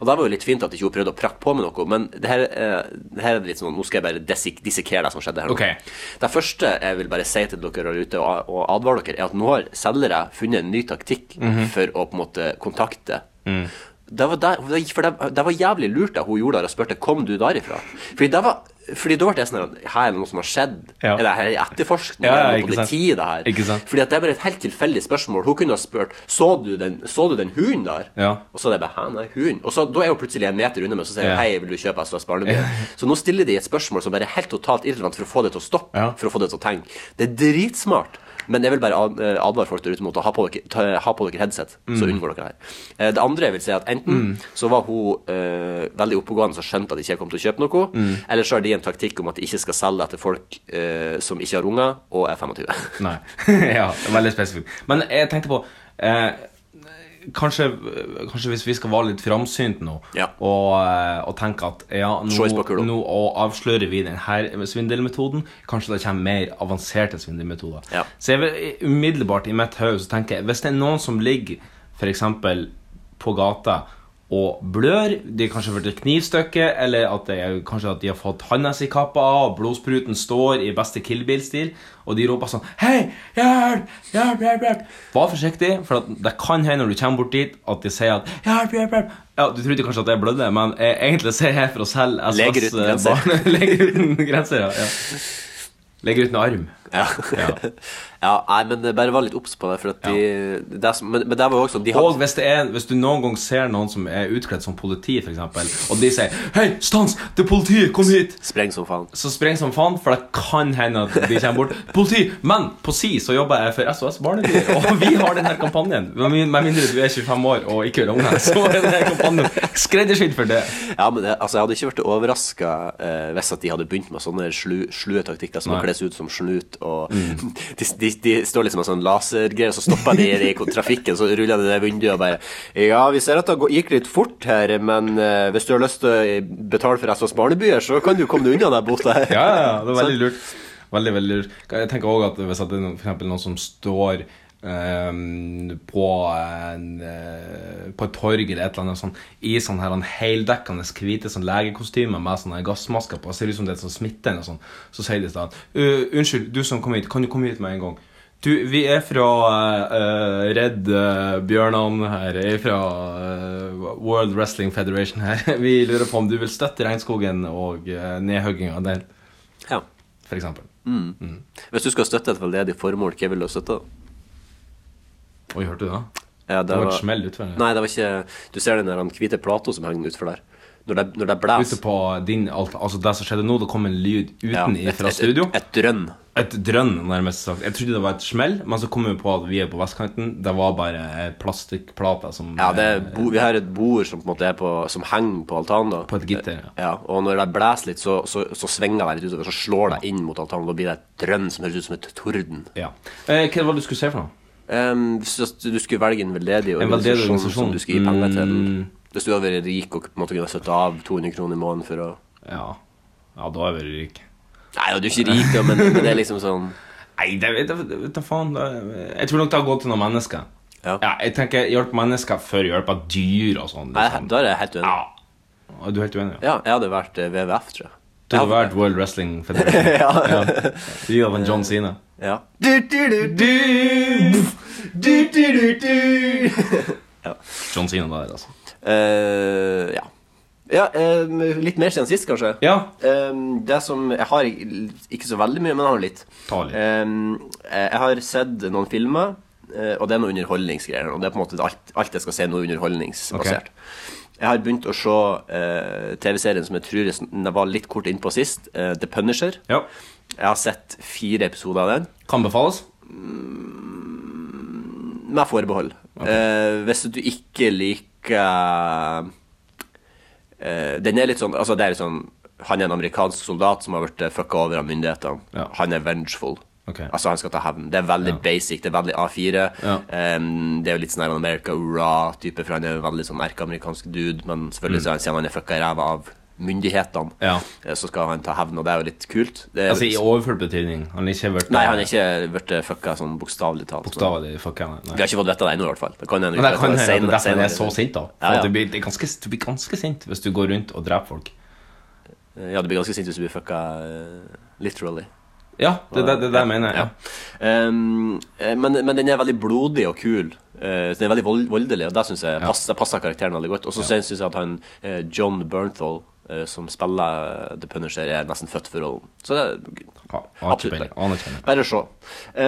Og da var jo litt fint at ikke hun prøvde å prakke på med noe, men det her, eh, det her er litt sånn Nå skal jeg bare disik dissekere det som skjedde her nå. Ok. Det første jeg vil bare si til dere der ute og, og advare dere, er at nå har selgere funnet en ny taktikk Mhm. for å på en måte kontakte. Mm. Det var, der, for det, det var jævlig lurt da hun gjorde det og spurte kom du derifra. Fordi det var fordi da ble jeg sånn her, Her er det noe som har skjedd? Ja. Er det her en etterforskning? Ja, ja, er det ikke noe sant. politi, det her? Ikke sant. Fordi at det er bare et helt tilfeldig spørsmål. Hun kunne ha spurt så du den, så du den hunden der. Ja. Og så er det bare hæ, nei, hund. Og så da er hun plutselig en meter unna meg, så sier hun Ja. hei, vil du kjøpe SOS Barneby? Så nå stiller de et spørsmål som bare er helt totalt irrelevant for å få det til å stoppe, Ja. for å få det til å tenke. Det er dritsmart. Men jeg vil bare ad- eh, advare folk der ute mot å ha på dere, ta, ha på dere headset, så Mm. unngår dere det her. Eh, Det andre jeg vil si, er at enten så var hun eh, veldig oppegående og skjønte at ikke jeg kom til å kjøpe noe, Mm. eller så har de en taktikk om at de ikke skal selge det til folk eh, som ikke har unger og er 25. Nei. ja, veldig spesifikt. Men jeg tenkte på eh, Kanskje, kanskje hvis vi skal være litt framsynte nå Ja. og, eh, og tenke at ja, nå, Choice på kula. nå og avslører vi denne svindelmetoden, kanskje det kommer mer avanserte svindelmetoder. Ja. Så jeg vil umiddelbart i mitt hode så tenker jeg hvis det er noen som ligger f.eks. på gata og blør, de har kanskje fått et knivstykke, eller at det er, kanskje at de har fått handa si kappa av, og blodspruten står i beste Kill Bill-stil, og de roper sånn Hei, hjelp! Hjelp, hjelp, hjelp! Vær forsiktig, for at det kan hende når du kommer bort dit, at de sier at Hjelp, hjelp, hjelp! Ja, Du trodde kanskje at jeg blødde, men eh, egentlig så er jeg her for å selge SOS Leger uten grenser. barne- Leger uten grenser, ja. ja. Leger uten arm. Ja. ja. nei, men det bare var litt obs på det, for at de det som, men, men det var jo også sånn, de hadde, Og hvis, det er, hvis du noen gang ser noen som er utkledd som politi, for eksempel, og de sier 'Hei, stans! Det er politiet! Kom hit!' Spreng som faen. Så spreng som faen, for det kan hende at de kommer bort. Politi! Men på si så jobber jeg for SOS Barneby, og vi har denne kampanjen. Med min- med mindre du er 25 år og ikke har unge, så er denne kampanjen skreddersydd for det. Ja, men det, altså, jeg hadde ikke vært overraska eh, hvis at de hadde begynt med sånne slu, slue taktikker som Nei. å Mm. kle seg ut som snut, og de, de, de står liksom med sånn lasergreier, så stopper de i trafikken, så ruller de det vinduet og bare Ja, vi ser at det går- gikk litt fort her, men eh, hvis du har lyst til å betale for SOS Barnebyer, så kan du komme deg unna den bota her. Ja, ja, ja, det er veldig lurt. Veldig, veldig lurt. Jeg tenker også at hvis at det er noen- for eksempel noen som står ehm, på, en, eh, på et torg eller et eller annet sånn, i sånn her en heldekkende hvite sånn legekostyme med sånne gassmasker på, ser ut som det er sånn smitte eller sånn, så sier de sånn «Øh, Unnskyld, du som kom hit, kan du komme hit med en gang? Du, vi er fra eh, eh, Redd eh, Bjørnan her, er fra eh, World Wrestling Federation her. Vi lurer på om du vil støtte regnskogen og uh, nedhugginga der Ja. for eksempel. Hvis du skal støtte et veldedig formål, hva vil du støtte? da? Oi, hørte du det? Ja, Det var et smell utfor her. Nei, det var ikke Du ser den der han hvite plata som henger utfor der. Når det, når det Ute blåser. på din alt, altså det som skjedde nå, det kom en lyd Ja, uten et- fra et- studio. Et, et drønn. Et drønn, nærmest sagt. Jeg trodde det var et smell, men så kom vi på at vi er på vestkanten. Det var bare ei plastikkplate som Ja, det er eh, bo, vi har et bord som på en måte er på Som henger på altanen. da På et gitter, ja. ja. Og når det blåser litt, så, så, så svinger det litt utover. Så slår det inn mot altanen. Da blir det et drønn som høres ut som et torden. ja. Eh, hva var det du skulle si for noe? Ehm, så du skulle velge en veldedig En veldedig organisasjon som organisasjon. Mm. du skulle gi penger til. Hvis du hadde vært rik og på en måte kunne satt av 200 kroner i måneden for å Ja. ja, da er vi rik. Nei, ja, du er ikke rik, da, men, men det er liksom sånn Nei, det vet jeg vet da faen. Det, jeg tror nok det har gått til noen mennesker. Ja. jeg tenker Hjelp mennesker før hjelp av dyr og sånn. Nei, Liksom. Da er jeg helt uenig. Ja. Er Du er helt uenig? ja? Ja, jeg hadde vært eh, WWF, tror jeg. Du Jeg har hadde- vært World Wrestling Federation. ja. Du gjør en John Cena. Ja. Du, du, du, du. Du, du, du, du. John Cena der, altså. Eh, ja. Ja, eh, litt mer siden sist, kanskje. Ja. Eh, det som Jeg har ikke ikke så veldig mye, men jeg har litt. Ta litt. Eh, jeg har sett noen filmer, eh, og det er noe underholdningsgreier. Og det er på en måte alt, alt jeg skal se, er noe underholdningsbasert. Jeg har begynt å se eh, TV-serien som jeg tror jeg sn- jeg var litt kort innpå sist, eh, The Punisher. Ja. Jeg har sett fire episoder av den. Kan befales. Med forbehold. Eh, hvis du ikke liker eh, Den er litt sånn Altså, det er litt sånn Han er en amerikansk soldat som har blitt eh, fucka over av myndighetene. Ja. Han er vengeful. Ok. Altså, han skal ta hevn. Det er veldig basic, det er veldig A4. Ja. Ehm, det er jo litt sånn her America Ura-type, for han er jo veldig sånn erkeamerikansk dude, men selvfølgelig så er han, siden han er fucka i ræva av myndighetene, Mm. Ja. eh, så skal han ta hevn, og det er jo litt kult. Det er Altså i litt... overført betydning. Han er ikke vært Nei, han er ikke blitt fucka sånn bokstavelig talt. bokstavelig fucka. Nei. Vi har ikke fått vite det ennå, i hvert fall. Det kan hende vi Men det får kan vite hende at det er derfor han senere- er så sint, da. For Ja, at ja. Du, blir, det er ganske, du blir ganske sint hvis du går rundt og dreper folk. Ja, du blir ganske sint hvis du blir fucka eh, literally. Ja, det er det, det, er det jeg mener. Ja. Um, eh, men, men den er veldig blodig og kul. Eh, så den er veldig vold, voldelig, og det synes jeg pass, det passer karakteren veldig godt. Og så synes jeg at han eh, John Bernthal, eh, som spiller The Punisher, er nesten født for rollen. Så det er Ha- Aner ikke Absolutt. peiling, aner ikke peiling. Bare se.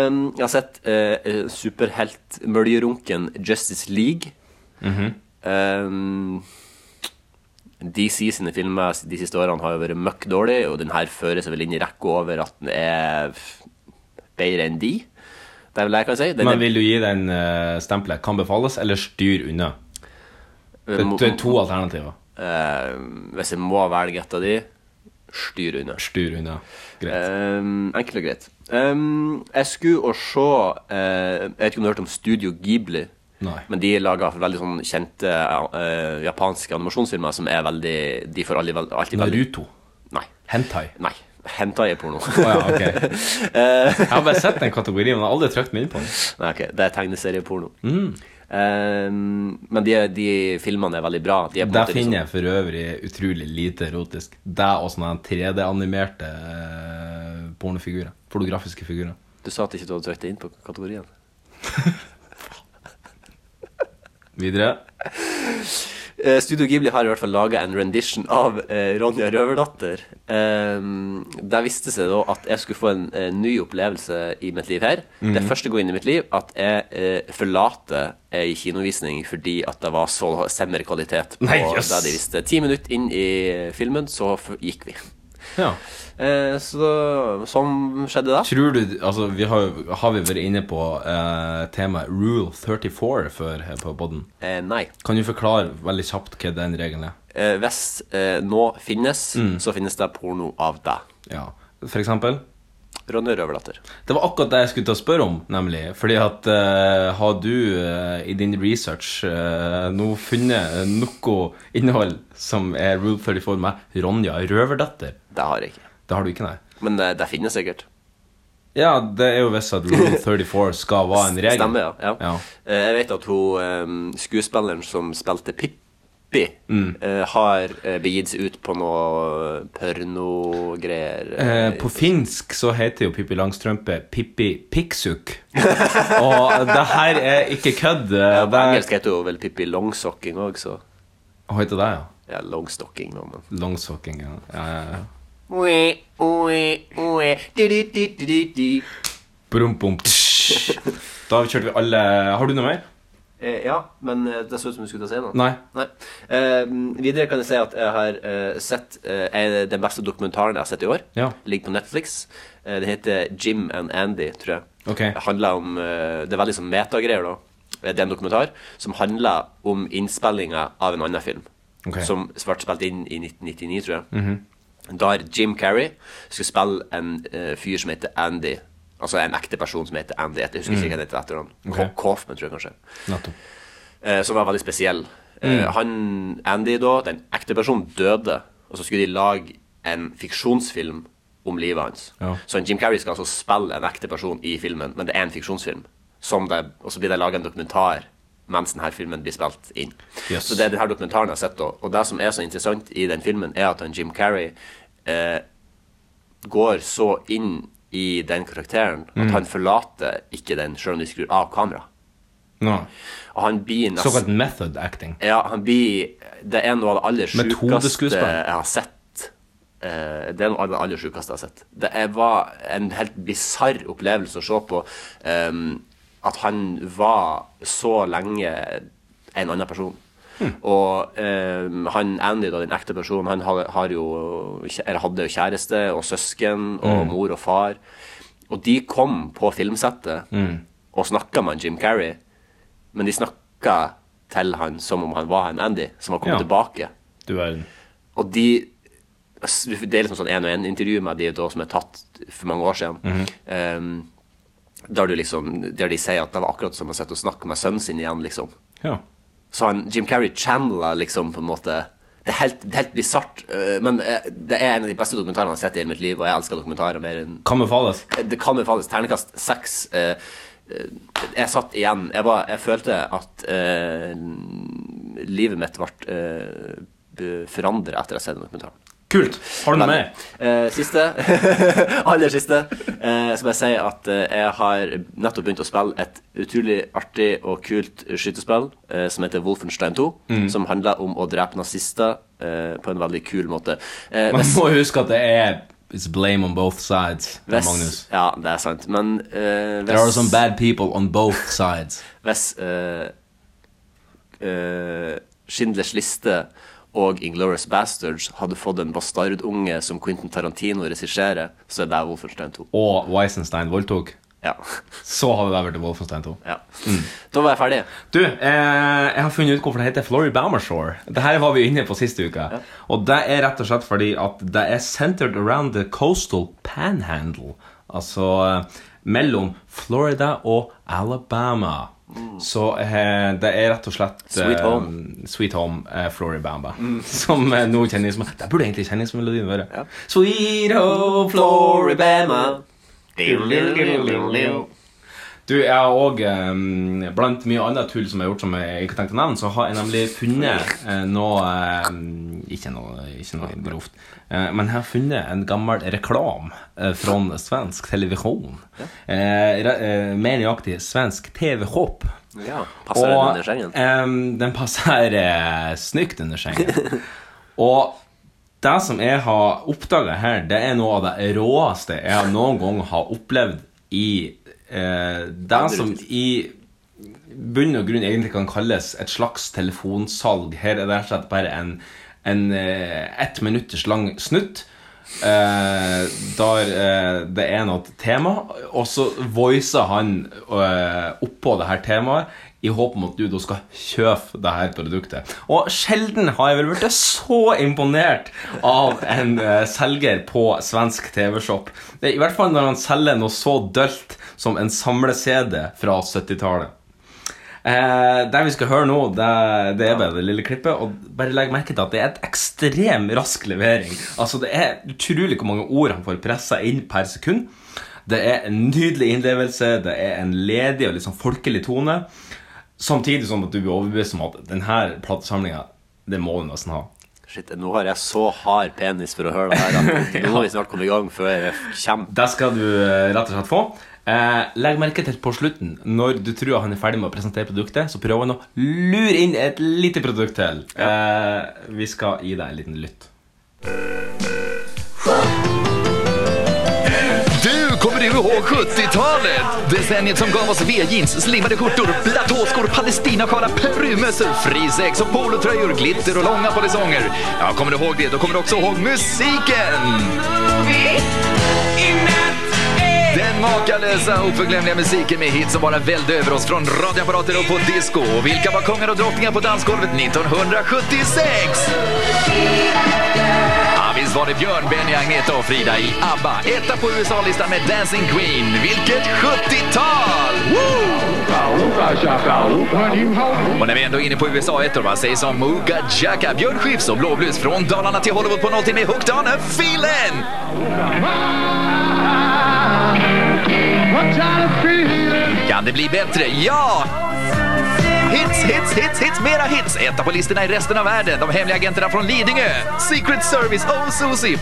Um, jeg har sett eh, eh, superheltmøljerunken Justice League. Mhm. um, DC sine filmer de siste årene har jo vært møkk dårlig, og den her fører seg vel inn i rekka over at den er f- bedre enn de. Det er vel det jeg kan si. Den Men er, vil du gi den eh, stempelet 'kan befales' eller 'styr unna'? Det, må- det er to alternativer. eh, hvis jeg må velge et av de, styr unna. Styr unna. Greit. Um, enkelt og greit. Um, jeg skulle å se eh, Jeg vet ikke om du har hørt om Studio Ghibli? Nei. Men de lager veldig sånn kjente eh, japanske animasjonsfilmer som er veldig De får aldri, vel- alltid veldig Naruto. Nei. Hentai. Nei. Hentai er porno. Å ja, ok. Jeg har bare sett den kategorien, men jeg har aldri trykt meg inn på den. Nei, ok, Det er tegneserieporno. Mm. Um, men de, de filmene er veldig bra. De er på en Der måte liksom- finner jeg for øvrig utrolig lite erotisk. Deg og sånne 3D-animerte eh, pornofigurer. Pornografiske figurer. Du sa at ikke du hadde trykt deg inn på kategorien. Videre. Eh, Studio Ghibli har i hvert fall laga en rendition av eh, Ronja Røverdatter. Um, der viste det seg da at jeg skulle få en eh, ny opplevelse i mitt liv her. Mhm. Det er første gang i mitt liv at jeg eh, forlater ei kinovisning fordi at det var så semmer kvalitet på Nei, jøss. det de viste. Ti minutter inn i eh, filmen, så f- gikk vi. Ja. Eh, så sånn skjedde det. Tror du Altså, vi har, jo- har vi vært inne på eh, temaet rule 34 før her på podden. Eh, nei. Kan du forklare veldig kjapt hva den regelen er? Eh, hvis eh, nå finnes, Mm. så finnes det porno av deg. Ja. For eksempel? Ronja Røverdatter. Det var akkurat det jeg skulle til å spørre om, nemlig. Fordi at eh, har du eh, i din research eh, nå funnet noe innhold som er Rule 34 med Ronja Røverdatter? Det har jeg ikke. Det har du ikke, nei. Men eh, det finnes sikkert. Ja, det er jo visst at Rule 34 skal være en regel. Stemmer, ja. ja. Ja. Eh, Jeg vet at hun eh, skuespilleren som spilte Pippi, Mm. eh, har eh, begitt seg ut på noe pornogreier. Eh, eh, på finsk så heter jo Pippi Langstrømpe Pippi Piksuk. Og det her er ikke kødd. eh, ja, På Det er... engelsk heter hun vel Pippi Longsocking òg, så Hva heter det, ja? ja, Longstocking, nå, men Longsocking, ja. ja, ja, ja. Oi, oi, oi, du, du, du, du, du, du. Brum, bum, tsh. Da kjørte vi alle Har du noe mer? Eh, ja, men eh, det så ut som du skulle til å si noe. Nei. Eh, videre kan jeg si at jeg har eh, sett eh, en- den beste dokumentaren jeg har sett i år. Ja. Ligger på Netflix. Eh, den heter Jim and Andy, tror jeg. Ok. Det handler om eh, Det er veldig sånn metagreier, da. Eh, Det er en dokumentar som handler om innspillinga av en annen film. Ok. Mhm. Som ble spilt inn i 1999, tror jeg. Der Jim Carrey skulle spille en eh, fyr som heter Andy. Altså en ekte person som heter Andy. Jeg husker ikke hva han heter etter han. Mhm. Ok. Ko- Kaufman, tror jeg kanskje Nettopp. eh, som var veldig spesiell. Eh, Mm. han, Andy, da, den ekte personen, døde, og så skulle de lage en fiksjonsfilm om livet hans. Ja. Så en Jim Carrey skal altså spille en ekte person i filmen, men det er en fiksjonsfilm. Som det, og så blir det laga en dokumentar mens denne filmen blir spilt inn. Yes. Så det er denne dokumentaren jeg har sett, da. Og det som er så interessant i den filmen, er at han Jim Carrey eh, går så inn i den karakteren Mm. at han forlater ikke den sjøl om de skrur av kameraet. No. Og han blir nesten Såkalt method acting. ja, han blir Det er noe av det aller sjukeste Metodeskuespill. jeg har sett. Eh, det er noe av det aller sjukeste jeg har sett. Det er, var en helt bisarr opplevelse å se på ehm, at han var så lenge en annen person. Og ehm, han Andy, da, den ekte personen, han har, har jo, eller hadde jo kjæreste og søsken og mor og far. Og de kom på filmsettet og snakka med Jim Carrey, men de snakka til han som om han var han Andy, som har kommet Ja. tilbake. Du verden. Og de Det er liksom sånn en og en intervju med de da som er tatt for mange år siden. Um, der, du liksom, der de sier at det var akkurat som å sitte og snakke med sønnen sin igjen, liksom. Ja. Så han, Jim Carrey channeler liksom på en måte Det er helt, det er helt bisart, øh, men eh, det er en av de beste dokumentarene jeg har sett i hele mitt liv, og jeg elsker dokumentarer mer enn Kan befales. Det kan befales terningkast seks. eh, eh, jeg satt igjen Jeg, var, jeg følte at eh, livet mitt ble uh, forandra etter å ha sett den dokumentaren. Kult. Har du noe mer? Eh, siste, aller siste, eh, så må jeg si at eh, jeg har nettopp begynt å spille et utrolig artig og kult skytespill eh, som heter Wolfenstein 2, Mm. som handler om å drepe nazister eh, på en veldig kul måte. Eh, Man hvis- må huske at det er It's blame on both sides. hvis- Magnus. Ja, det er sant, men eh, There are hvis- some bad people on both sides. hvis eh, eh, Schindlers liste og Inglourious Bastards hadde fått en bastardunge som Quentin Tarantino regisserer, så er det Wolfenstein 2. Og Weisenstein voldtok. Ja. Så hadde det vært Wolfenstein 2. ja. Mm. Da var jeg ferdig. Du, eh, jeg har funnet ut hvorfor det heter Florrie Bammershore. Det her var vi inne på siste uke. Og det er rett og slett fordi at det er centered around the coastal panhandle. Altså eh, mellom Florida og Alabama. Så eh, det er rett og slett Mm. Sweet eh, home. Mm. Sweet Home eh, Floribamba. Som eh, nå kjennes som Det burde egentlig kjenningsmelodien være. Ja. Sweet home Floribama. Du, jeg har òg, eh, blant mye annet tull som jeg har gjort som jeg ikke tenkte å nevne, så har jeg nemlig funnet eh, noe eh, Ikke noe, ikke noe grovt. Eh, men jeg har funnet en gammel reklam eh, fra svensk televisjon. Eh, re, eh, mer nøyaktig svensk TV-håp. Ja, passer den under sengen? ehm, den passer eh, snykt under sengen. og det som jeg har oppdaga her, det er noe av det råeste jeg noen gang har opplevd i eh, det som i bunn og grunn egentlig kan kalles et slags telefonsalg. Her er det rett og slett bare en, en eh, ett minutters lang snutt. eh, der eh, det er noe tema, og så voicer han eh, oppå det her temaet i håp om at du da skal kjøpe det her produktet. Og sjelden har jeg vel vært så imponert av en eh, selger på svensk TV-shop. Det er I hvert fall når han selger noe så dølt som en samle-CD fra 70-tallet. Eh, det vi skal høre nå, det, det er bare det lille klippet. Og bare legg merke til at det er et ekstrem rask levering. Altså Det er utrolig hvor mange ord han får pressa inn per sekund. Det er en nydelig innlevelse, det er en ledig og liksom folkelig tone. Samtidig som at du blir overbevist om at denne platesamlinga, det må du nesten ha. Shit, nå har jeg så hard penis for å høre det her. at Nå må vi snart komme i gang før jeg kommer. Det skal du eh, rett og slett få. Eh, legg merke til på slutten, når du tror han er ferdig med å presentere produktet, så prøver han å lure inn et lite produkt til. Eh, vi skal gi deg en liten lytt. Du kommer du ihåg 70-talet? Decenniet som gav oss V-jeans, slimmade skjortor, platåskor, palestinasjala, perumössor, frisex och polotröjor, glitter och långa polisonger. Ja, kommer du ihåg det, då kommer du också ihåg musiken! Den makalösa, oförglömliga musiken med hits som bara vällde över oss från radioapparater och på disco. Och vilka var kungar och drottningar på dansgolvet 1976? Ja, visst var det Björn, Benny, Agneta och Frida i ABBA. Etta på USA-listan med Dancing Queen. Vilket 70-tal! Woo! Och när vi ändå är inne på USA-ettor, va, säg som Mooga Jacka, Björn Skifs och Blåblues från Dalarna till Hollywood på nolltid med Hooked on a Feeling! Kan det bli bättre? Ja! Hits, hits, hits, hits, mera hits! Etta på listorna i resten av världen. De hemliga agenterna från Lidingö, Secret Service, Oh Susie,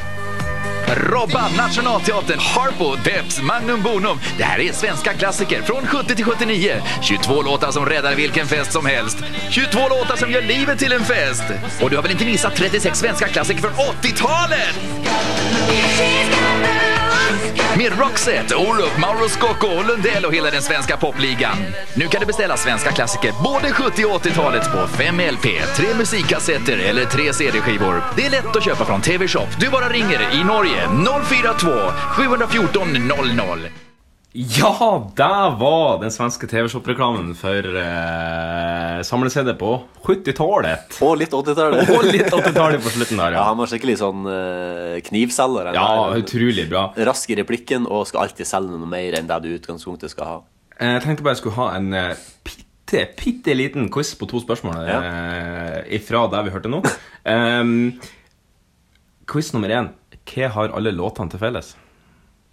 Robban, Nationalteatern, Harpo, Depps, Magnum Bonum. Det här är svenska klassiker från 70 till 79. 22 låtar som räddar vilken fest som helst. 22 låtar som gör livet till en fest. Och du har väl inte missat 36 svenska klassiker från 80-talet? Med Roxette, Orup, Mauro Scocco och Lundell och hela den svenska popligan. Nu kan du beställa svenska klassiker både 70 och 80-talet på 5 LP, 3 musikkassetter eller 3 CD-skivor. Det är lätt att köpa från TV-shop. Du bara ringer i Norge 042 714 00. Ja, der var den svenske TV-shop-reklamen for eh, samle-CD på 70-tallet. Og litt 80-tallet. Og litt 80-tallet på slutten der, Ja, ja. han var skikkelig sånn eh, knivselger. han Ja, der. utrolig bra. Rask i replikken og skal alltid selge noe mer enn det du i utgangspunktet skal ha. Eh, Jeg tenkte bare jeg skulle ha en eh, bitte, bitte liten quiz på to spørsmål Ja. eh, ifra der vi hørte nå. Em, quiz nummer én. Hva har alle låtene til felles?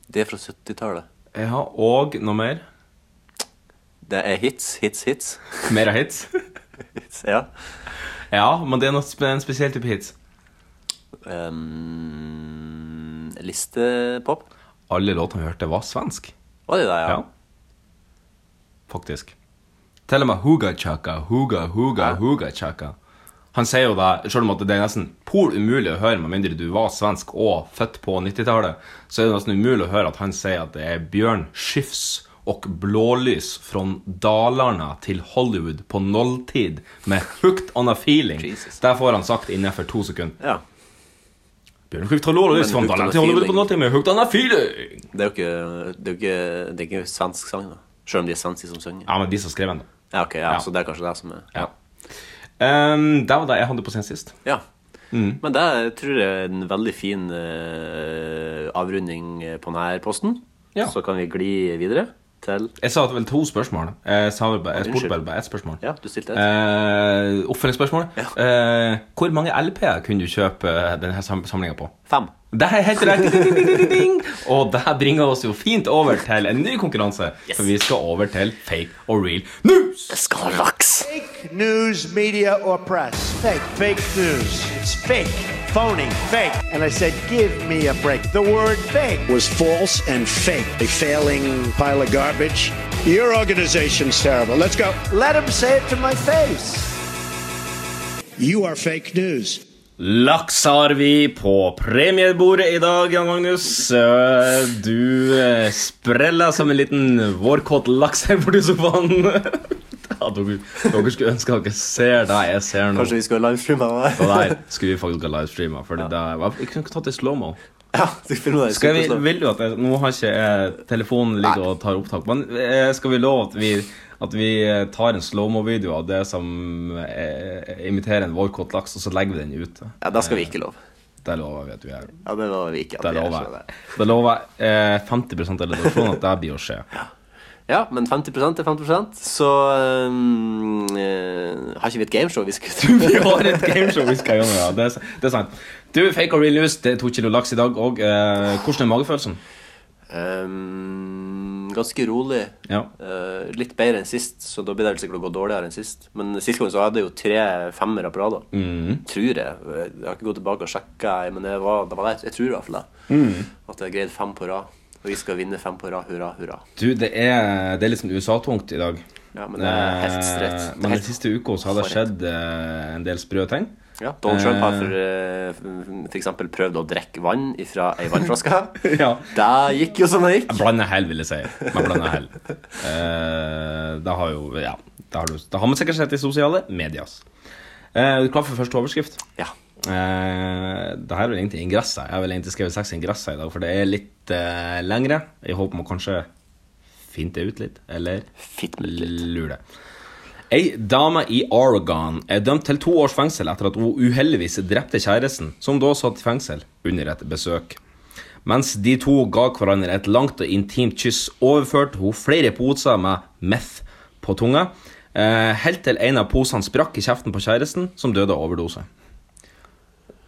Det er fra 70-tallet. Ja, og noe mer? Det er hits, hits, hits. Mer av hits? hits ja. Ja, men det er noe spe- en spesiell type hits. Um, listepop. Alle låtene vi hørte, var svensk. Var det det, ja? Ja. Faktisk. Til og med Huga Chaka, Huga, Huga, Huga Chaka. Han sier jo det, selv om at det er nesten pol umulig å høre, med mindre du var svensk og født på 90-tallet, så er det nesten umulig å høre at han sier at det er Bjørn Skifs og blålys fra Dalarna til Hollywood på nulltid med 'hooked on a feeling'. Jesus. Det får han sagt innenfor to sekunder. ja. Bjørn Skifs og blålys fra Men hooked on a Dalarna til Hollywood på feeling. nulltid med 'hooked on a feeling'. Det er jo ikke, det er jo ikke, det er ikke svensk sang, da. Selv om de er svenske som synger. Ja, men de som skrev den, da. Ja, ok, ja, Ja. Så det er kanskje det som er Ja. Ehm, det var det jeg hadde på sen sist. Ja. Men det tror jeg er en veldig fin eh, avrunding på denne posten. Ja. Så kan vi gli videre til Jeg sa at vel to spørsmål. Jeg, sa vel bare, jeg spurte Ah, Unnskyld. vel bare ett spørsmål. Ja, du stilte et. Eh, Oppfølgingsspørsmål. Ja. Eh, hvor mange LP-er kunne du kjøpe denne samlinga på? Fem. Det er helt rett! Ding, ding, ding, ding, ding. Og det bringer oss jo fint over til en ny konkurranse. For vi skal over til fake og real news. Skaraks! Fake news, media, or press. Fake. Fake news. It's fake. Phony. Fake. And I said, give me a break. The word fake was false and fake. A failing pile of garbage. Your organization's terrible. Let's go. Let him say it to my face. You are fake news. Laks har vi på premiebordet i dag, Jan Magnus. Eh, Du eh, spreller som en liten vårkåt laks her borti sofaen. Ja, dere, dere skulle ønske dere ser det jeg ser nå. Kanskje vi skal livestreame det? Det der skulle vi faktisk ha livestreama. Fordi det var- Jeg kunne ikke tatt det i slow-mo. Ja, du filmer det. Skal vi, superslå. vil du at jeg, Nå har ikke jeg telefonen ligger og tar opptak, men eh, skal vi love at vi, at vi eh, tar en slow-mo-video av det som eh, imiterer en vårkåt laks, og så legger vi den ute? Ja, det skal vi ikke love. Det lover vi at vi gjør. Ja, det lover vi ikke. at Det vi gjør, lover så jeg. det- Det lover jeg eh, 50 av redaksjonen at det blir å skje. Ja, men 50 er 50 så um, eh, har ikke vi et gameshow vi skulle tro Vi har et gameshow vi skal gjennom, ja. Det er, s- det er sant. Du, fake or real news, det er to kilo laks i dag og Eh, hvordan er magefølelsen? um, Ganske rolig. Ja. Eh, litt bedre enn sist, så da blir det vel sikkert å gå dårligere enn sist. Men sist gang så hadde jeg jo tre femmere på rad, da. Mm. Tror jeg. Jeg har ikke gått tilbake og sjekka, men det var, det var det. jeg tror i hvert fall det. Mm. At jeg greide fem på rad. Og vi skal vinne fem på rad. Hurra, hurra. Du, det er, det er litt sånn USA-tungt i dag. Ja, men det er helt strett. Eh, Det er Men helt den siste uka så har det hårrett. skjedd eh, en del sprø ting. Ja, Donald Trump har Eh. for, eh, for eksempel prøvd å drikke vann fra ei vannflaske. Ja. Det gikk jo som det gikk. Blande hell, vil jeg si. Man blander hell. Eh, det har jo Ja. Det har, du, det har man sikkert sett i sosiale medias. Eh, er du klar for første overskrift? Ja. Eh, det her er vel egentlig ingresset. Jeg har vel egentlig skrevet seks ingresser i dag, for det er litt eh, lengre. Jeg håper man kanskje finter det ut litt, eller Fitt med litt. lurer det. Ei dame i Oregon er dømt til to års fengsel etter at hun uheldigvis drepte kjæresten, som da satt i fengsel under et besøk. Mens de to ga hverandre et langt og intimt kyss, overførte hun flere poser med meth på tunga, eh, helt til en av posene sprakk i kjeften på kjæresten, som døde av overdose.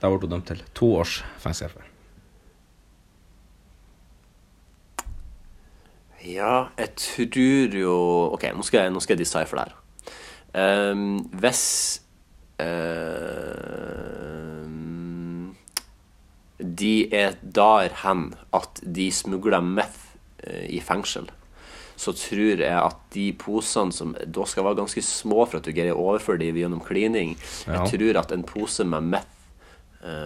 Der ble hun dømt til to års fengsel. for. Ja, jeg tror jo Ok, nå skal jeg, nå skal jeg decipher det her. Ehm, hvis eh, ehm, De er der hen at de smugler meth eh, i fengsel, så tror jeg at de posene som da skal være ganske små for at du greier å overføre dem gjennom klining Ja. Jeg tror at en pose med meth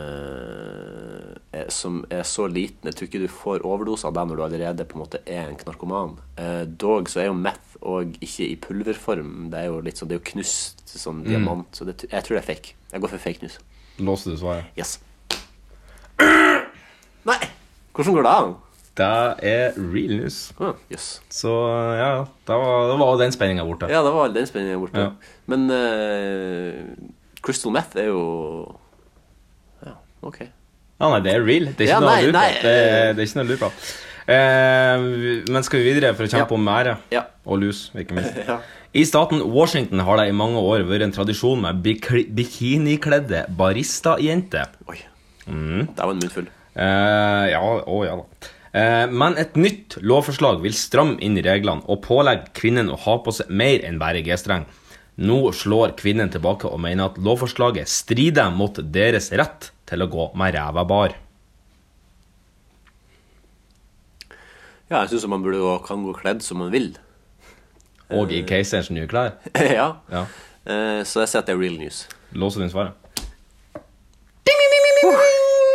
eh, er- som er så liten Jeg tror ikke du får overdose av det når du allerede på en måte er en narkoman. Eh, dog så er jo meth og ikke i pulverform. Det er jo litt sånn, det er jo knust sånn diamant. Så det, jeg tror det er fake. Jeg går for fake news. Låste du svaret? Yes. Nei! Hvordan går det an? Det er real news. Ah, jøss. Så ja, ja, da var, da var den spenninga borte. Ja, det var all den spenningen borte. Ja. Men eh, Crystal Meth er jo Ja, OK. Ja, nei, det er real. Det er ikke Ja, noe nei, å lure på. nei. Det, er- det er ikke noe å lure på. Eh, men skal vi videre for å kjempe Ja. om ære? Ja. Og lus, ikke minst. Ja. I staten Washington har det i mange år vært en tradisjon med bikri- bikinikledde baristajenter. Oi. Mm. Det var en munnfull. Eh, ja, å ja da. Eh, men et nytt lovforslag vil stramme inn reglene og pålegge kvinnen å ha på seg mer enn bare G-streng. Nå slår kvinnen tilbake og mener at lovforslaget strider mot deres rett til å gå med ræva bar. Ja, jeg syns man burde gå, kan gå kledd som man vil. Og i keiserens nye klær. ja. Ja. Eh, så jeg sier at det er real news. Låser inn svaret.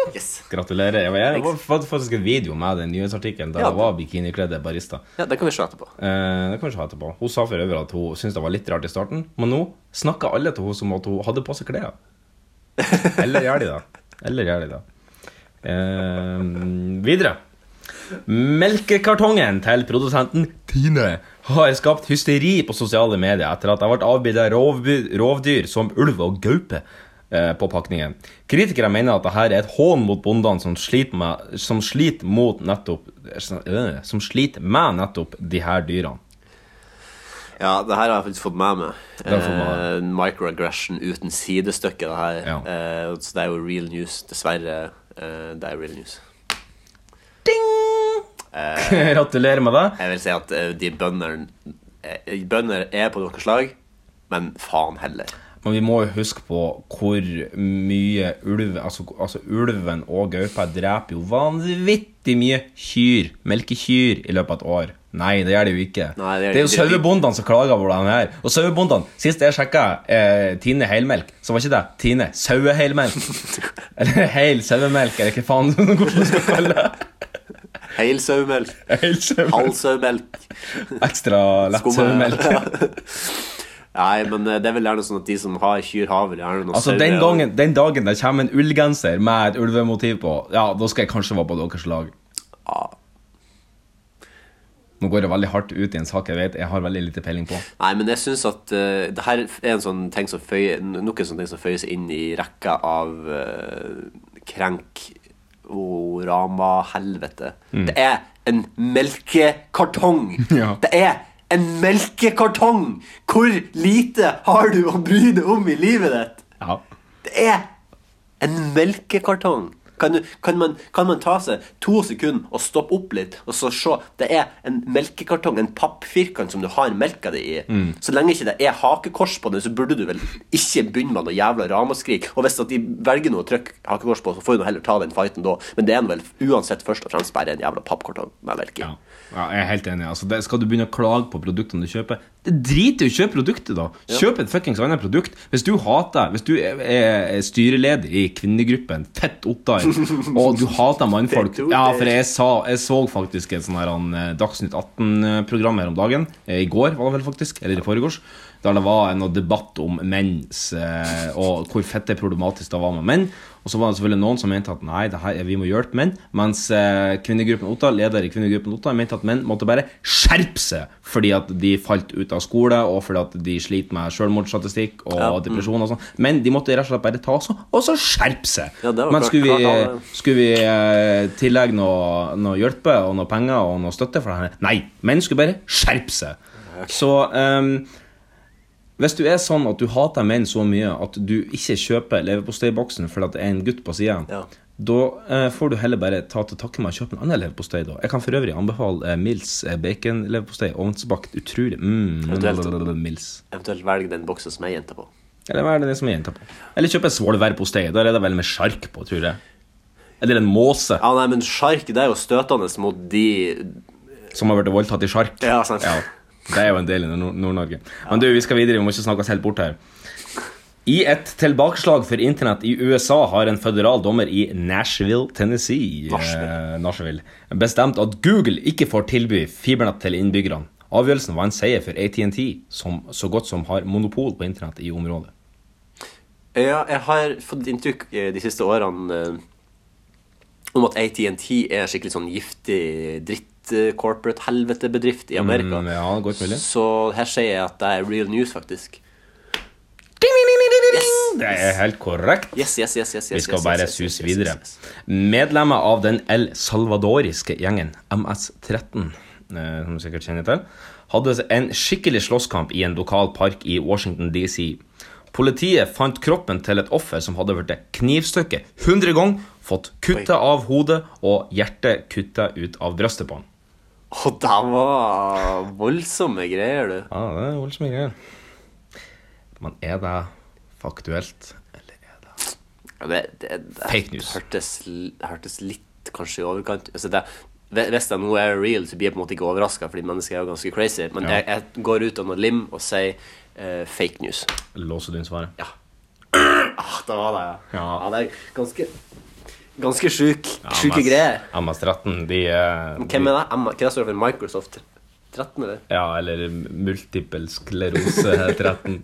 Yes. Gratulerer. Jeg var- Jeg var faktisk- faktisk en video med den nyhetsartikkelen der Ja. det var bikinikledde barista. Ja, Det kan vi se etterpå. Eh, det kan vi se etterpå. Hun sa for øvrig at hun syntes det var litt rart i starten, men nå snakker alle til hun som at hun hadde på seg klær. Eller gjør de det? Eller gjør de det? Eh, videre. Melkekartongen til produsenten Tine har skapt hysteri på sosiale medier etter at det ble avbilda rovdyr som ulv og gaupe eh, på pakningen. Kritikere mener at dette er et hån mot bondene som sliter med, som sliter mot nettopp øh, Som sliter med nettopp de her dyrene. Ja, det her har jeg faktisk fått med meg. Det har jeg fått med Eh, en microaggression uten sidestykke, det her. Ja. Eh, så det er jo real news. Dessverre. eh, det er real news. Gratulerer med det. Jeg vil si at eh, de bøndene eh, Bønder er på deres lag, men faen heller. Men vi må jo huske på hvor mye ulv Altså, altså ulven og gaupa dreper jo vanvittig mye kyr, melkekyr, i løpet av et år. Nei, det gjør det jo ikke. Nei, det gjør det er jo ikke det. sauebondene som klager over den her. Og sauebondene Sist jeg sjekka eh, Tine heilmelk, så var ikke det Tine saueheilmelk. eller heil sauemelk, eller hva faen hvordan du skal kalle det. Heil sauemelk, Heil sauemelk. halv sauemelk, Ekstra lett sauemelk. Nei, men eh, det er vel gjerne sånn at de som har kyr, har vel gjerne noen Altså, sauer den, og- gangen, den dagen det kommer en ullgenser med et ulvemotiv på, ja, da skal jeg kanskje være på deres lag. Nå går jeg veldig hardt ut i en sak jeg vet jeg har veldig lite peiling på. Nei, men jeg syns at eh, det her er en sånn ting som føyer, nok en sånn ting som føyer seg inn i rekka av eh, krenk orama helvete. Det er en melkekartong! Mm. Ja. Det er en melkekartong! Hvor lite har du å bry deg om i livet ditt? Ja. Det er en melkekartong. Kan, du, kan, man, kan man ta seg to sekunder og stoppe opp litt og så se Det er en melkekartong, en pappfirkant som du har melka di i. Mm. Så lenge ikke det er hakekors på den, så burde du vel ikke begynne med noe jævla ramaskrik. Og hvis at de velger noe å trykke hakekors på, så får du nå heller ta den fighten da. Men det er nå vel uansett først og fremst bare en jævla pappkartong med melk i. Ja. jeg er helt enig. Altså, det, skal du begynne å klage på produktene du kjøper? Det driter i å kjøpe produktet, da! Kjøp et fuckings annet produkt. Hvis du hater Hvis du er, er styreleder i kvinnegruppen Fett Ottar, og du hater mannfolk Fett Ottar. Ja, for jeg, sa, jeg så faktisk et sånn her han, eh, Dagsnytt 18-program her om dagen. Eh, I går, var det vel faktisk. Eller i forgårs. Der det var en debatt om menns eh, Og hvor fett det er problematisk det var med menn. Og så var det selvfølgelig noen som mente at nei, det her, vi må hjelpe menn. Mens eh, kvinnegruppen Otta, leder i kvinnegruppen Otta mente at menn måtte bare skjerpe seg fordi at de falt ut av skole, og fordi at de sliter med selvmordsstatistikk og depresjon og sånn. Men de måtte rett og slett bare ta oss og så skjerpe seg. Ja, det var Men klart- skulle vi, klart alle- skulle vi eh, tillegge noe, noe hjelpe og noe penger og noe støtte for det her? Nei, menn skulle bare skjerpe seg. Så ehm, hvis du er sånn at du hater menn så mye at du ikke kjøper leverposteiboksen fordi at det er en gutt på sida, Ja. da eh, får du heller bare ta til takke med å kjøpe en annen leverpostei. da. Jeg kan for øvrig anbefale eh, Mills eh, baconleverpostei. Ovnsbakt. Utrolig. Eventuelt. Mm, Mills. Eventuelt velg den boksen som jeg er jente på. Eller hva er det det som er jenta på? Eller kjøpe svolværpostei. Da er det vel med sjark på, tror jeg. Eller en måse Ja, nei, men sjark, det er jo støtende mot de som har blitt voldtatt i sjark. Ja, sant. Ja, det er jo en del i Nord- Nord-Norge. Men du, vi skal videre. Vi må ikke snakke oss helt bort her. I et tilbakeslag for internett i USA har en føderal dommer i Nashville, Tennessee Nashville. eh, Nashville bestemt at Google ikke får tilby fibernett til innbyggerne. Avgjørelsen var en seier for ATNT, som så godt som har monopol på internett i området. Ja, jeg har fått inntrykk eh, de siste årene eh, om at ATNT er skikkelig sånn giftig dritt eh, corporate helvetebedrift i Amerika. Mm, ja, godt mulig. Så her sier jeg at det er real news, faktisk. Yes. Det er helt korrekt. Yes, yes, yes, yes, yes, Vi skal yes, bare yes, yes, suse yes, videre. yes, yes. Medlemmer av den el salvadoriske gjengen MS-13, eh, som du sikkert kjenner til, hadde en skikkelig slåsskamp i en lokal park i Washington DC. Politiet fant kroppen til et offer som hadde blitt knivstukket 100 ganger, fått kuttet av hodet og hjertet kuttet ut av brystet på han. Å, det var voldsomme greier, du. Ja, det er voldsomme greier. Men er det faktuelt, eller er det Ja, Det, det, det Fake news. Hørtes, l- hørtes litt kanskje i overkant altså det, Hvis det nå er real, så blir jeg på en måte ikke overraska, fordi mennesker er jo ganske crazy. Men Ja. jeg, jeg går ut av noe lim og sier eh, fake news. Låser du inn svaret? Ja. Ah, det var det, ja. Ja. det er ganske Ganske sjuk, sjuke MS greier. MS-13, de, eh, de Hvem er det? M- Hva står det for Microsoft 13, eller? Ja, eller multiple sklerose 13.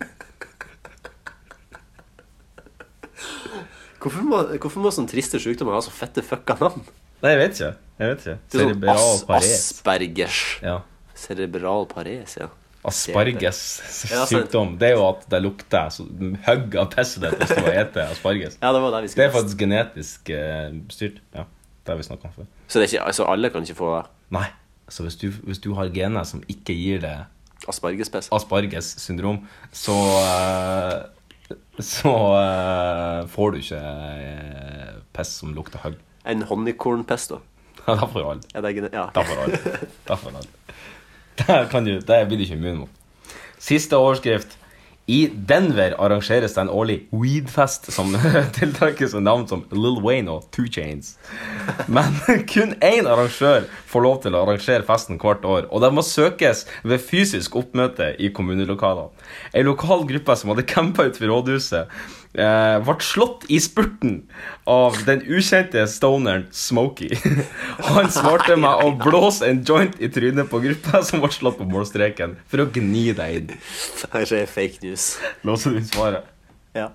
Hvorfor må, hvorfor må sånne triste sjukdommer ha så fette fucka navn? Nei, jeg vet ikke. Jeg vet ikke. Det er sånn Cerebral as, pares. Aspergers. Ja. Cerebral pares, ja. Asparges Ja, altså- sant. sykdom. Det er jo at det lukter så hugg av pisset ditt hvis du spiser asparges. Ja, det var det vi Det skulle er faktisk genetisk eh, styrt. Ja, det har vi snakka om før. Så det er ikke, altså alle kan ikke få Nei, så hvis du, hvis du har gener som ikke gir deg aspargespes? asparges syndrom, så eh, Så eh, får du ikke eh, piss som lukter hugg. En honningkornpesto? Ja, da får jo alle. Er det gene- ja. Da får alle. Da får alle. Det, kan du, det blir du ikke immun mot. Siste overskrift. I Denver arrangeres det en årlig weedfest som tiltrekkes med navn som Lil Wayne og Two Chains. Men kun én arrangør får lov til å arrangere festen hvert år, og det må søkes ved fysisk oppmøte i kommunelokalene. Ei lokal gruppe som hadde campa utenfor rådhuset, eh, ble slått i spurten av den ukjente stoneren Smokey. Han svarte med å blåse en joint i trynet på gruppa som ble slått på målstreken, for å gni deg inn. Her er fake news. Låser du inn svaret? Ja.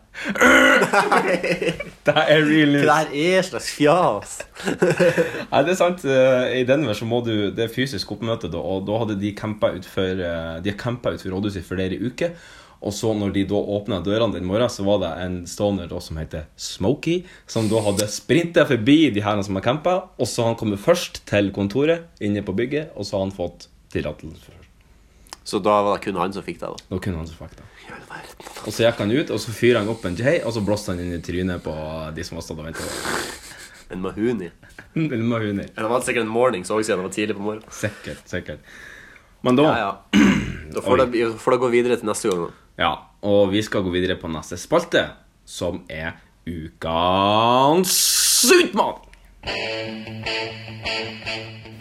Det er real news. Det her er slags fjas. Nei, det er sant. Eh, I Denver så må du Det er fysisk oppmøte, da, og da hadde de campa utfor eh, De har campa utfor rådhuset i flere uker. Og så når de da åpna dørene den morgenen, så var det en stoner da som heter Smokey, som da hadde sprinta forbi de herrene som har campa, og så har han kommet først til kontoret inne på bygget, og så har han fått tillatelse først. Så da var det kun han som fikk det, da. Da kunne han så fakta. Og så gikk han ut, og så fyrer han opp en jay, og så blåste han inn i trynet på de som har stått og venta. En mahuni. Eller med hunder. Det var sikkert en morning, så også siden det var tidlig på morgenen. Sikkert, sikkert. Men da Ja, ja. Da får det, får det gå videre til neste gang. da. Ja, og vi skal gå videre på neste spalte, som er ukens utfordring.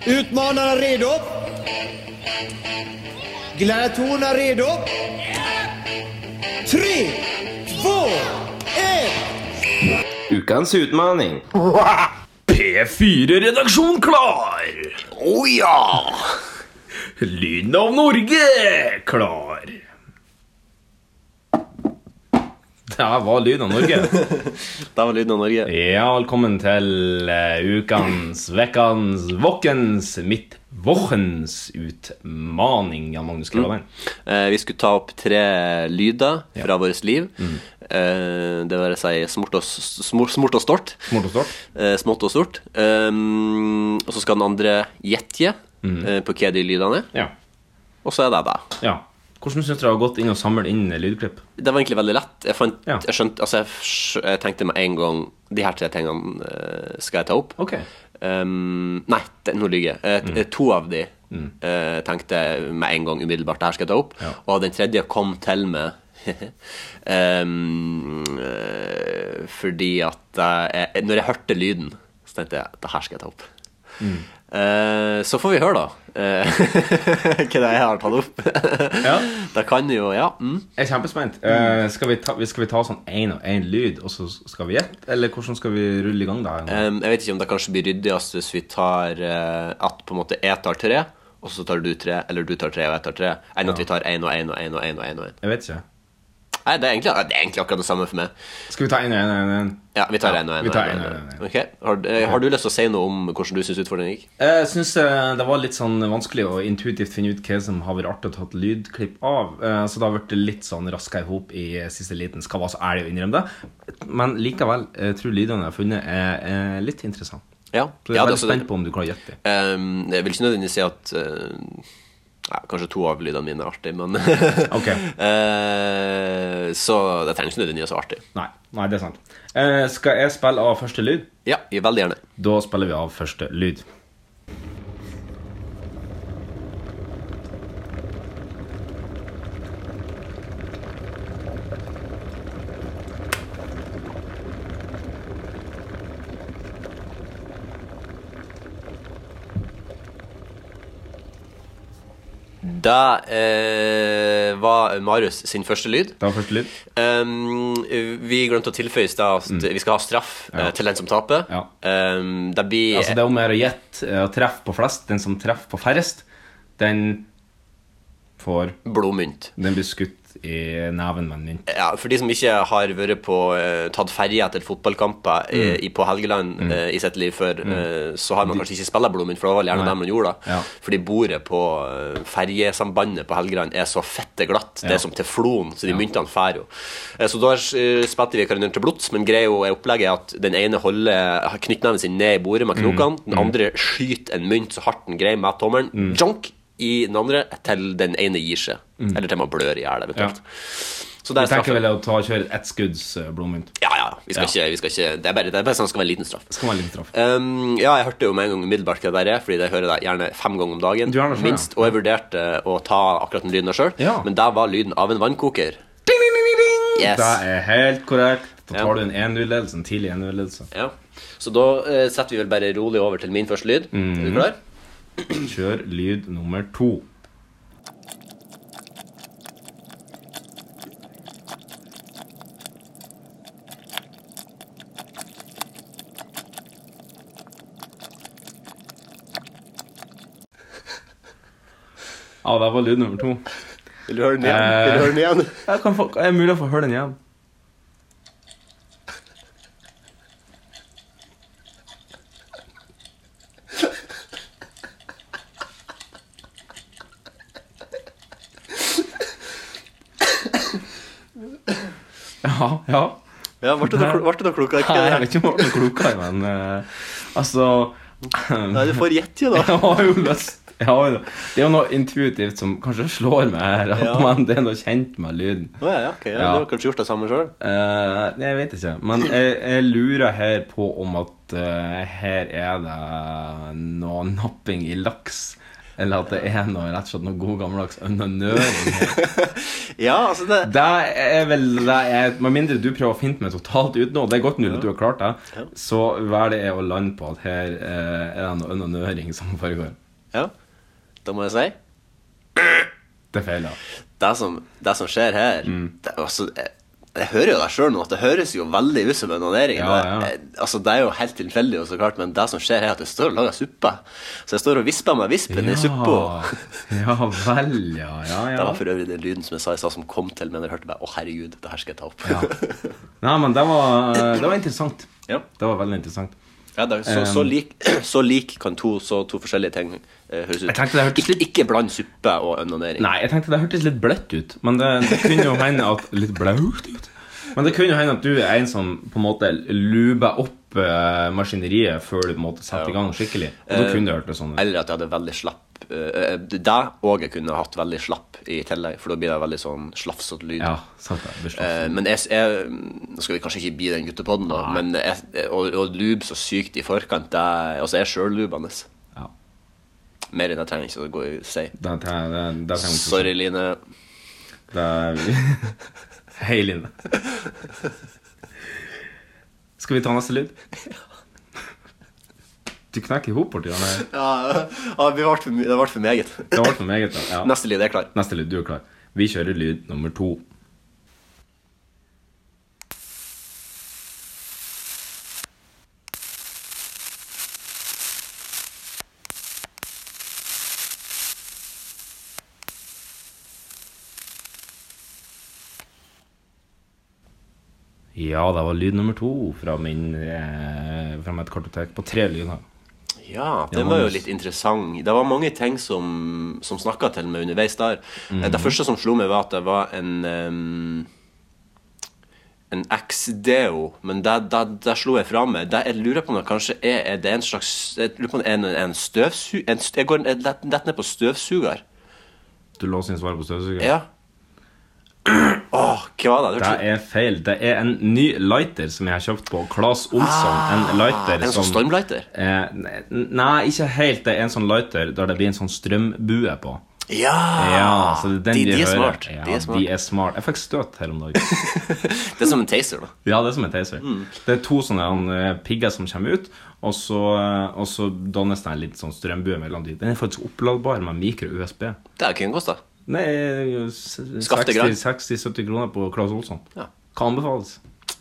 Utmanarna redo? Gladiatorerna redo? Tre, två, ett! Ukens utfordring. P4-redaksjon klar! Å ja! Lyden av Norge klar. Det var lyden av Norge. Det var lyden av Norge. Ja, velkommen til eh, ukens, vekkans, vokkens, mitt vochens utmaning. Jan Magnus Kraven. Eh, vi skulle ta opp tre lyder fra vårt liv. Mm. Eh, det vil si smort og, s- smor- smort og stort. Smort og stort. Eh, smått og stort. Um, og så skal den andre gjette eh, på hva de lydene er. Mm. Ja. Og så er det det. Ja. Hvordan syns du det har gått inn og samle inn eh, lydklipp? Det var egentlig veldig lett. Jeg, fant, Ja. jeg, skjønte, altså jeg, skj- jeg tenkte med en gang De her tre tingene eh, skal jeg ta opp. Ok. Mm. Um, nei, det, nå lyver jeg. Eh, t- To av de eh, tenkte jeg med en gang umiddelbart det her skal jeg ta opp. Ja. Og den tredje kom til med um, eh, fordi at eh, jeg, Når jeg hørte lyden, så tenkte jeg det her skal jeg ta opp. Mm. Eh, så får vi høre, da, eh, hva det er jeg har tatt opp. Ja. Det kan jo Ja. Mm. Jeg er kjempespent. Eh, skal, vi ta, skal vi ta sånn én og én lyd, og så skal vi gjette? Eller hvordan skal vi rulle i gang det her? Um, jeg vet ikke om det kanskje blir ryddigast hvis vi tar eh, at på en måte jeg tar tre, og Eh. så tar du tre, eller du tar tre og jeg tar tre, enn at vi tar én og én og én og én. og en og en. Jeg vet ikke. Nei, det er egentlig, det er egentlig akkurat det samme for meg. Skal vi ta en og en og en? og en? Ja, vi tar en og en. vi og tar en en, og og en, en. Ok, har, eh, har du lyst til å si noe om hvordan du syns utfordringen gikk? Jeg syns Eh, det var litt sånn vanskelig å intuitivt finne ut hva som har vært artig å ta et lydklipp av. eh, Så det har blitt litt sånn raska i hop i eh, siste liten. Skal være så ærlig å innrømme det. Men likevel, jeg tror lydene jeg har funnet, er, er litt interessante. Ja, Så jeg ja er veldig det, altså, det- spent på om du klarer å gjette det. Ehm, jeg vil ikke nødvendigvis si at eh, ja, Kanskje to av lydene mine er artig, men Ok. Eh, Så det trenger ikke nødvendigvis å være artig. Nei, nei, det er sant. Eh, Skal jeg spille av første lyd? Ja, jeg veldig gjerne. Da spiller vi av første lyd. Da eh, var Marius sin første lyd. Det var første lyd. Ehm, vi glemte å tilføye i stad at vi skal ha straff eh, til den som taper. Mm. Ja. Ehm, det blir Altså, det er om å gjøre å gjette eh, og treffe på flest. Den som treffer på færrest, den får blodmynt. Den blir skutt i neven med en mynt. Ja, for de som ikke har vært på eh, tatt ferje etter fotballkamper eh, Mm. i, på Helgeland eh, i sitt liv før, eh, så har man kanskje ikke spilla Blodmynt, for det var vel gjerne det man gjorde da. Ja. Fordi bordet på eh, ferjesambandet på Helgeland er så fette glatt. Det Ja. er som teflon, så de myntene fær jo. Eh, så da eh, spilte vi hverandre til blods, men greia er opplegget at den ene holder eh, knyttneven sin ned i bordet med Mm. knokene, den andre skyter en mynt så hardt den greier med tommelen. Mm. Jonk! I den andre til den ene gir seg. Eller til man blør i hjel, eventuelt. Så det Jeg er straffen. Mm. tenker vel å ta og kjøre ett skudds eh, blodmynt. Ja, ja. Vi skal, Ikke, vi skal ikke Det er bare, det er bare sånn det skal være en liten straff. Skal være litt traff. Um, ja, jeg hørte jo med en gang umiddelbart hva det der er, fordi jeg hører det gjerne fem ganger om dagen. Du gjør det selv, ja. minst, Og jeg vurderte å ta akkurat den lyden sjøl, Ja. men det var lyden av en vannkoker. Yes. Det er helt korrekt. Da Ja. tar du en 1-0-ledelse, en tidlig 1-0-ledelse. Ja. Så da eh, setter vi vel bare rolig over til min første lyd. Mm. Er du klar? Kjør lyd nummer to. Ja, det var lyd nummer to. Vil du høre den igjen? Vil du høre den igjen? Jeg kan få, er det mulig å få høre den igjen? Ja, ja. Ja, ble du noe ble du noe klokere? Nei, jeg vet ikke om jeg ble klokere, men eh, altså Nei, du får gjette, jo, da. Jeg har jo lyst jeg har jo, Det er jo noe intuitivt som kanskje slår meg her, Ja. men det er noe kjent med lyden. Å ja, ja, ok. Ja, Ja. Du har kanskje gjort det samme sjøl? Eh, jeg vet ikke, men jeg, jeg lurer her på om at eh, her er det noe napping i laks. Eller at det er noe, rett og slett noe god gammeldags unanøring her. Ja, altså det Det er vel det er, Med mindre du prøver å finte meg totalt utenom, og det er godt mulig at du har klart det, så velger jeg å lande på at her eh, er det noe unanøring som foregår. Ja. Da må jeg si Det er feil, ja. det som, det som skjer her Mm. det, er altså, jeg, jeg hører jo deg sjøl nå, at det høres jo veldig ut som en onanering. Ja, Det, ja. eh, altså, det er jo helt tilfeldig, jo, så klart, men det som skjer, er at jeg står og lager suppe. Så jeg står og visper med vispen i suppa. Ja vel, ja. ja, Det ja. var for øvrig den lyden som jeg sa i stad, som kom til meg da jeg hørte meg. Å, herregud, det her skal jeg ta opp. Nei, men det var, eh, det var interessant. Ja. Det var veldig interessant. Ja, det er, så, Um. så, lik, så lik kan to, så to forskjellige ting eh, høres ut. Jeg tenkte det hørtes ikke, ikke bland suppe og onanering. Nei, jeg tenkte det hørtes litt bløtt ut. Men det, det kunne jo hende at Litt blaut ut? Men det kunne jo hende at du er en som på en måte luber opp eh, maskineriet før du på en måte setter i gang skikkelig. Og da kunne det hørtes sånn ut. Eller at Eh, jeg hadde veldig slapp eh, eh, Det og jeg kunne hatt veldig slapp i tillegg, for da blir det veldig sånn slafsete lyd. Ja, sant det. Beslag. Eh, men jeg, jeg mm, Nå skal vi kanskje ikke bli den guttepodden, da, men jeg, å, å lube så sykt i forkant det, er- Altså, jeg er sjøllubende. Ja. Mer enn jeg trenger ikke å gå og si. Det, det, det, det trenger vi ikke Sorry, Line. Det er... Hei, Line. Skal vi ta neste lyd? Du knekker i hop borti den her. Ja, det ble for, meget. Det var for meget. da. Ja. Neste lyd er klar. Neste lyd. Du er klar. Vi kjører lyd nummer to. Ja, det var lyd nummer to fra, min, eh, fra mitt kartotek på tre lyder. Ja, Ja, den var jo Magnus. litt interessant. Det var mange ting som, som snakka til meg underveis der. Mhm. Eh, Det første som slo meg, var at det var en em, En X-deo, men det, det, det slo jeg fra meg. Det, jeg lurer på om det kanskje er, er det en slags Jeg lurer på om det er en, en støvsu... En, st- jeg går jeg lett lett ned på støvsuger. Du låser inn svaret på støvsugeren? Ja. Åh, hva var det? Det det? er feil. Det er en ny lighter som jeg har kjøpt på Claes Olsson. en lighter var En sånn stormlighter? Eh, ne- nei, ikke helt. Det er en sånn lighter der det blir en sånn strømbue på. Ja! Ja, så det er den Ah, vi de, de, er hører. smart. Ja, de er smart. De er smart. Jeg fikk støt her om dagen. Det er som en taser, da. Ja, det er som en taser. Mm. Det er to sånne eh, pigger som kommer ut, og så, eh, og så dannes det en liten sånn strømbue mellom de. Den er faktisk oppladbar med mikro-USB. Det er kun kosta. Nei, s- Skaff det greit. 60 60-70 kroner på Claes Olsson. Ja. Kan anbefales.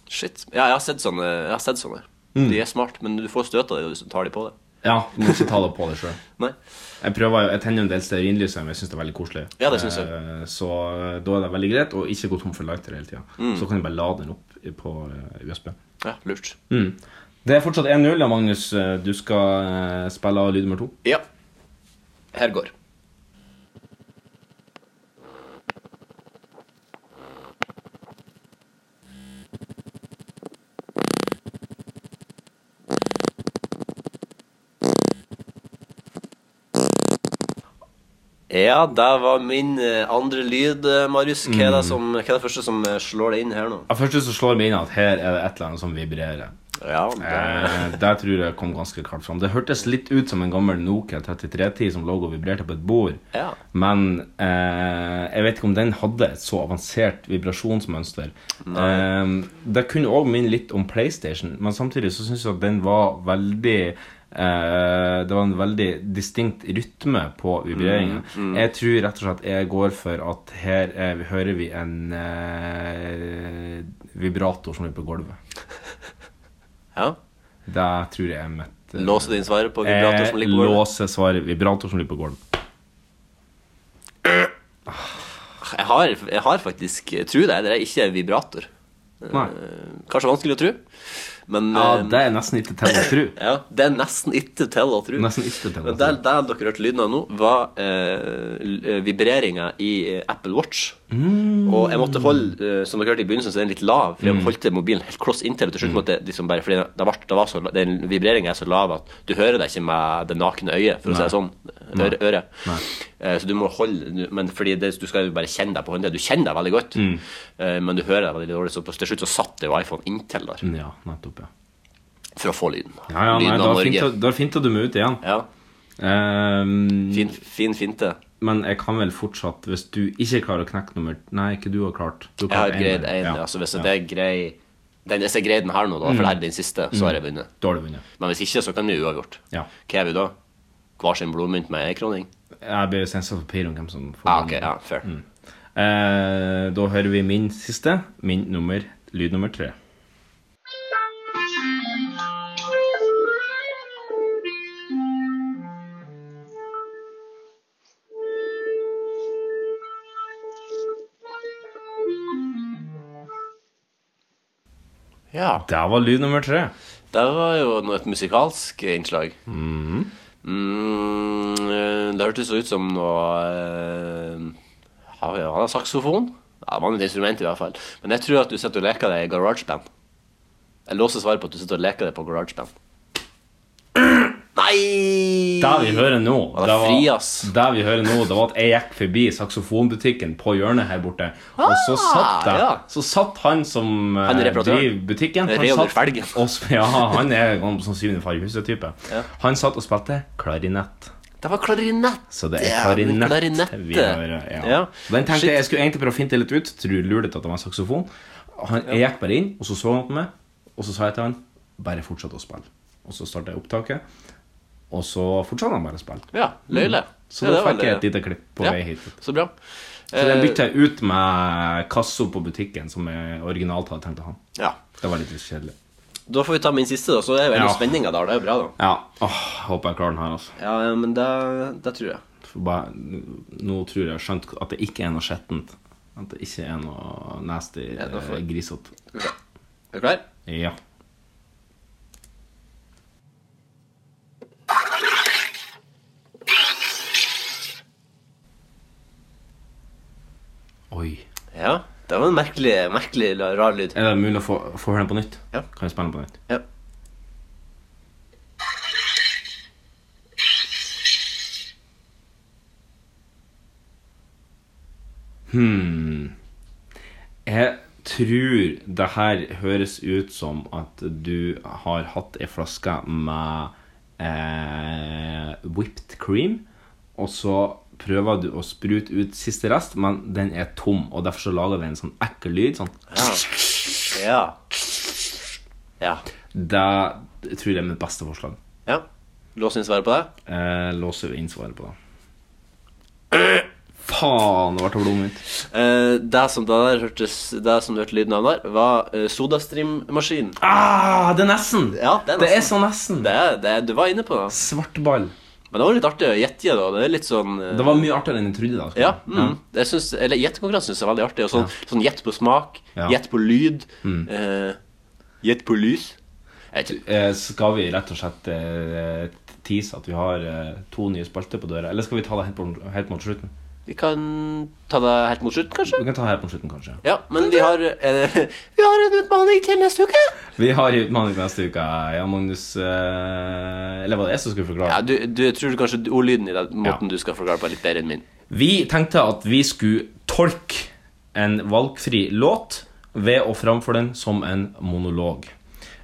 Shit. Ja, jeg har sett sånne. Jeg har sett sånne. De er smart, men du får støt av det hvis du tar de på det. Ja, du må ikke ta det på deg sjøl. Nei. Jeg prøver jo, jeg tenner en del stearinlys, men jeg syns det er veldig koselig. Ja, det synes jeg. Eh, Så eh, da er det veldig greit å ikke gå tom for lighter hele tida. Mm. Så kan du bare lade den opp i- på eh, USB. Ja, lurt. Det er fortsatt 1-0, ja, Magnus. Eh, Du skal eh, spille av lyd nummer to. Ja. Her går. Ja, det var min eh, andre lyd, eh, Marius. Hva er det, som, hva er det første som eh, slår deg inn her nå? Ja, Først så slår det meg inn at her er det et eller annet som vibrerer. Ja, det... Eh, Der tror jeg kom ganske klart fram. Det hørtes litt ut som en gammel Nokia 3310 som lå og vibrerte på et bord. Ja. Men eh, jeg vet ikke om den hadde et så avansert vibrasjonsmønster. Eh, det kunne òg minne litt om PlayStation, men samtidig så syns jeg at den var veldig eh, det var en veldig distinkt rytme på vibreringen. Jeg tror rett og slett jeg går for at her eh, hører vi en eh, vibrator som ligger på gulvet. ja. Det tror jeg er mitt eh, Låser din svaret på vibrator som ligger på gulvet? Låse svaret vibrator som ligger på gulvet. Jeg har, jeg har faktisk Jeg tror det er det er ikke vibrator. Nei. Eh, Kanskje vanskelig å tro, men Ja, eh, det er nesten ikke til å tro. ja, det er nesten ikke til å tro. Nesten ikke til å altså. Men tro. det, det dere hørte lyden av nå, var uh, vibreringa i eh, Apple Watch. Mm. Og jeg måtte holde eh, Som dere hørte i begynnelsen, så er den litt lav. For jeg holdt mobilen helt kloss inntil. og Til slutt måtte jeg liksom bare Fordi det, det, var, det var så, la- den vibreringa er så lav at du hører det ikke med det nakne øyet, for å si det sånn. Øre, øret. Eh, så du må holde du- Men fordi det, du skal jo bare kjenne deg på håndleddet. Du kjenner deg veldig godt, Mm. eh, men du hører deg veldig dårlig. Så på- til slutt så satt det jo iPhone inntil der Ja, nettopp, ja. for å få lyden. Ja, Mm. ja, nei, lyden da av Norge. finta, da finta du meg ut igjen. Ja, Ehm, fin, fin finte. men jeg kan vel fortsatt, hvis du ikke klarer å knekke nummer Nei, ikke du har klart. Du Jeg har klart greid en, én. ja. Mm. Altså, hvis det er grei den, Hvis jeg greier den her nå, da, for det her er den siste, så har jeg vunnet. Da har du vunnet. Men hvis ikke, så kan vi uavgjort. Ja. Hva er vi da? Hver sin blodmynt med en kroning? Jeg blir sensa papir om hvem som får Ah, ok, den. ja, fair. Mm. Eh, da hører vi min siste. Min nummer, lyd nummer tre. Ja. Der var lyd nummer tre. Det var jo noe, et musikalsk innslag. Mhm. Mm, eh, det hørtes jo ut som noe eh, ja, ja, Han har saksofon. Ja, det var et instrument, i hvert fall. Men jeg tror at du sitter og leker deg i GarageBand. Jeg låser svaret på at du sitter og leker deg på GarageBand. Nei! Det vi hører nå, Var det fri, ass? det vi hører nå, det var at jeg gikk forbi saksofonbutikken på hjørnet her borte. Og så satt, jeg, Ah, ja. så satt han som eh, Han er reparatøren. driver butikken Rev satt over felgen. og sp- Ja, han er sånn syvende far i huset-type. Han satt og spilte klarinett. Det var klarinett. Så det er Dæven, klarinett klarinette. vi hører. Ja. eh. Ja. Den tenkte Shit. jeg jeg skulle egentlig prøve å finte litt ut. Tror lurte at det var en saksofon. Han, jeg gikk bare inn, og så så han på meg, og så sa jeg til han bare fortsett å spille. Og så starta jeg opptaket, og så fortsatte han bare å spille. Ja, løyle. Mhm. Så ja, da det var fikk jeg løyle. et lite klipp på Ja, vei hit. Så bra. Så den Eh, bytta jeg ut med kassa på butikken, som jeg originalt hadde tenkt å ha. ja. Det var litt kjedelig. Da får vi ta min siste, da. Så er jo ennå Ja. spenninga der. Det er jo bra, da. Ja. Åh, håper jeg klarer den her, altså. Ja, ja, men det, det tror jeg. For bare, nå tror jeg jeg har skjønt at det ikke er noe skjettent. At det ikke er noe nasty det får- eh, grisete. Er du klar? Ja. Oi. Ja. Det var en merkelig, merkelig la- rar lyd. Er det mulig å få, få høre den på nytt? Ja. Kan jeg spille den på nytt? Ja. Jeg tror det her høres ut som at du har hatt ei flaske med eh, whipped cream, og så prøver du å sprute ut siste rest, men den er tom, og derfor så lager det en sånn ekkel lyd. Sånn. Ja. Ja. Det tror jeg er mitt beste forslag. ja. Lås inn svaret på det. Eh, låser inn svaret på det. Faen, det ble blodet mitt. Eh, det som det der hørtes Det som du hørte lyden av der, var eh, sodastream-maskin. Ah, det er nesten! Ja, det er Det er nesten. så nesten. Det, er- det, er- du var inne på det. Svart ball. Men det var litt artig å gjette, da. Det er litt sånn eh, Det var mye artigere enn jeg trodde. da skal Ja. jeg- Mm, Jeg synes, eller Gjettekonkurransen synes jeg er veldig artig. Og sånn, sånn gjett på smak, Ja. gjett på lyd, eh, gjett på lys. Jeg vet ikke. Eh, Skal vi rett og slett eh, tease at vi har eh, to nye spalter på døra? Eller skal vi ta det helt, på, helt mot slutten? Vi kan ta det helt mot slutten, kanskje? Vi kan ta det helt mot slutten, kanskje. Ja, men vi har, eh, vi har en utfordring til neste uke. Vi har en utfordring neste uke. Ja, Magnus eh, Eller var det jeg som skulle forklare? Ja, du, du jeg tror kanskje ordlyden i den måten du skal forklare på, er litt bedre enn min. Vi tenkte at vi skulle tolke en valgfri låt ved å framføre den som en monolog.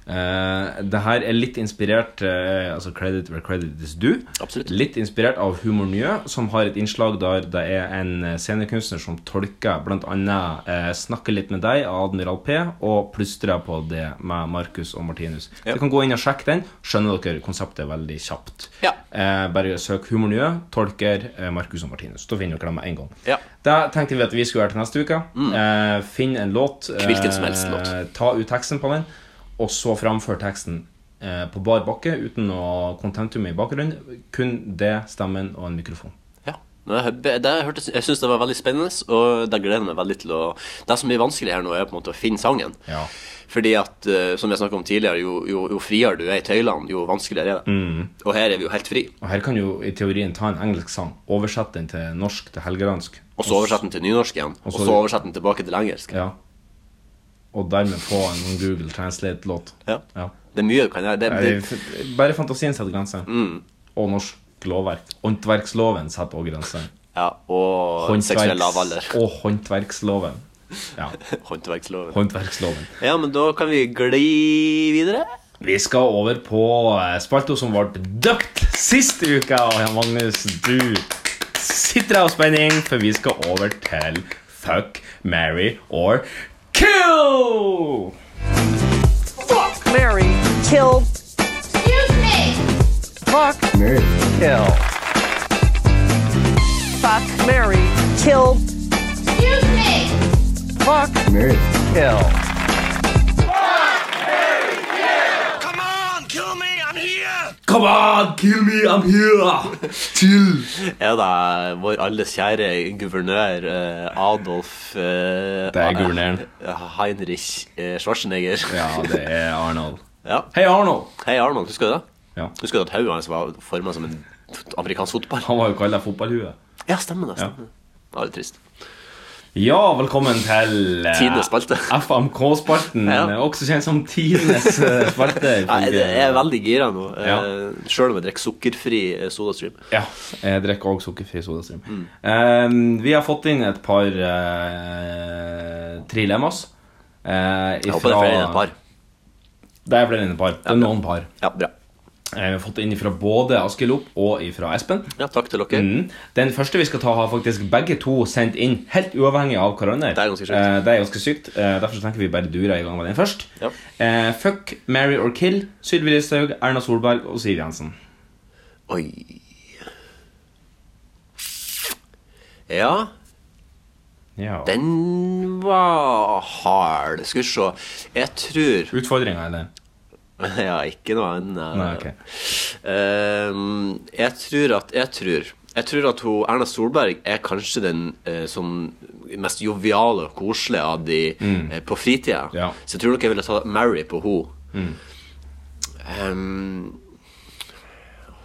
Uh, det her er litt inspirert eh, Altså credit where credit is due. Absolutt. Litt inspirert av Humor Njø, som har et innslag der det er en scenekunstner som tolker bl.a. Uh, 'Snakke litt med deg' av Admiral P og 'Plystrer på det' med Markus og Martinus. Dere kan gå inn og sjekke den. Skjønner dere konseptet veldig kjapt. Ja. Eh, bare søk Humor Njø, tolker eh, Markus og Martinus. Da finner dere dem med en gang. Ja. Mm. Da tenkte vi at vi skulle gjøre til neste uke. Eh, finn en låt. eh, Hvilken som helst låt. Ta ut teksten på den, og så framfør teksten eh, på bar bakke uten noe kontentum i bakgrunnen. Kun det, stemmen og en mikrofon. Ja. Nå, jeg, det, jeg hørtes- jeg syns det var veldig spennende, og det gleder jeg meg veldig til å Det som blir vanskelig her nå, er på en måte å finne sangen. Ja. Fordi at, eh, som jeg snakket om tidligere, jo, jo, jo friere du er i tøylene, jo vanskeligere er det. Og her er vi jo helt fri. Og her kan jo i teorien ta en engelsk sang, oversette den til norsk, til helgelandsk. Og så oversette den til nynorsk igjen, og så- så oversette den tilbake til engelsk. Ja. Og dermed få en Google Translate-låt. Ja. Ja. Det er mye du kan gjøre. Det, Nei, det, Mm. f- Bare fantasien setter grenser. Og norsk lovverk. Håndverksloven setter også grenser. ja, og Håndverks- seksuell lavalder. Og håndverksloven. Ja, Håndverksloven. håndverksloven. Ja, men da kan vi gli videre. Vi skal over på eh, spalto som ble døpt sist uke. Og Jan Magnus, du sitter av spenning, for vi skal over til Fuck, marry or kill! Come on, kill me, I'm here! Chill! Er det vår alles kjære guvernør eh, Adolf eh, Det er guvernøren. Heinrich eh, Schwarzenegger. Ja, det er Arnold. Ja. Hei, Arnold! Hei, Arnold, husker du det? Ja. Husker du at hodet hans var forma som en amerikansk fotball? Han var jo kalt fotballhue. Ja, stemmer det. stemmer det. Det var litt trist. Ja, velkommen til eh, Tidenes spalte. FMK-spalten. Ja. eh, Også kjent som Tidenes eh, spalte. Nei, det jeg er veldig gira nå. Ja. Eh, Sjøl om jeg drikker sukkerfri eh, sodastream. Ja, jeg drikker også sukkerfri sodastream. Mm. Eh, vi har fått inn et par eh, uh, trilemmas. eh, Jeg håper det er flere enn et par. Det er flere enn et par. Det er noen par. Ja, bra. Eh, vi har fått inn fra både Askild Opp og fra Espen. Ja, takk til dere. Mm. Den første vi skal ta, har faktisk begge to sendt inn, helt uavhengig av hverandre. Det er ganske sykt. Eh, det er ganske sykt. Eh, derfor så tenker vi bare durer i gang med den først. Ja. Eh, fuck, marry or kill Sylvi Listhaug, Erna Solberg og Siv Jensen. Oi. Ja, Ja. den var hard. Skal vi se. Jeg tror Utfordringa, eller? Ja, ikke noe annet. Nei, ok. Ehm, jeg tror at Jeg tror Jeg tror at hun, Erna Solberg er kanskje den eh, sånn mest joviale og koselige av de eh, på fritida. Ja. Så jeg tror nok jeg ville ta Mary på henne.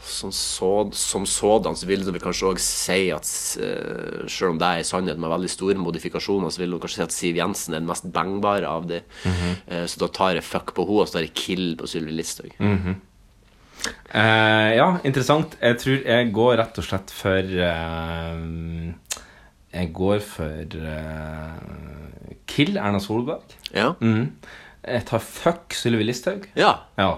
som, så, som sådan så vil vi kanskje òg si at eh, selv om det er i sannhet med veldig store modifikasjoner, så vil hun kanskje si at Siv Jensen er den mest bangbare av de. Eh, så da tar jeg fuck på henne, og så tar jeg kill på Sylvi Listhaug. Eh, ja, interessant. Jeg tror jeg går rett og slett for eh, Jeg går for eh, Kill Erna Solberg. Ja. Mm. Jeg tar fuck Sylvi Listhaug. ja. Ja.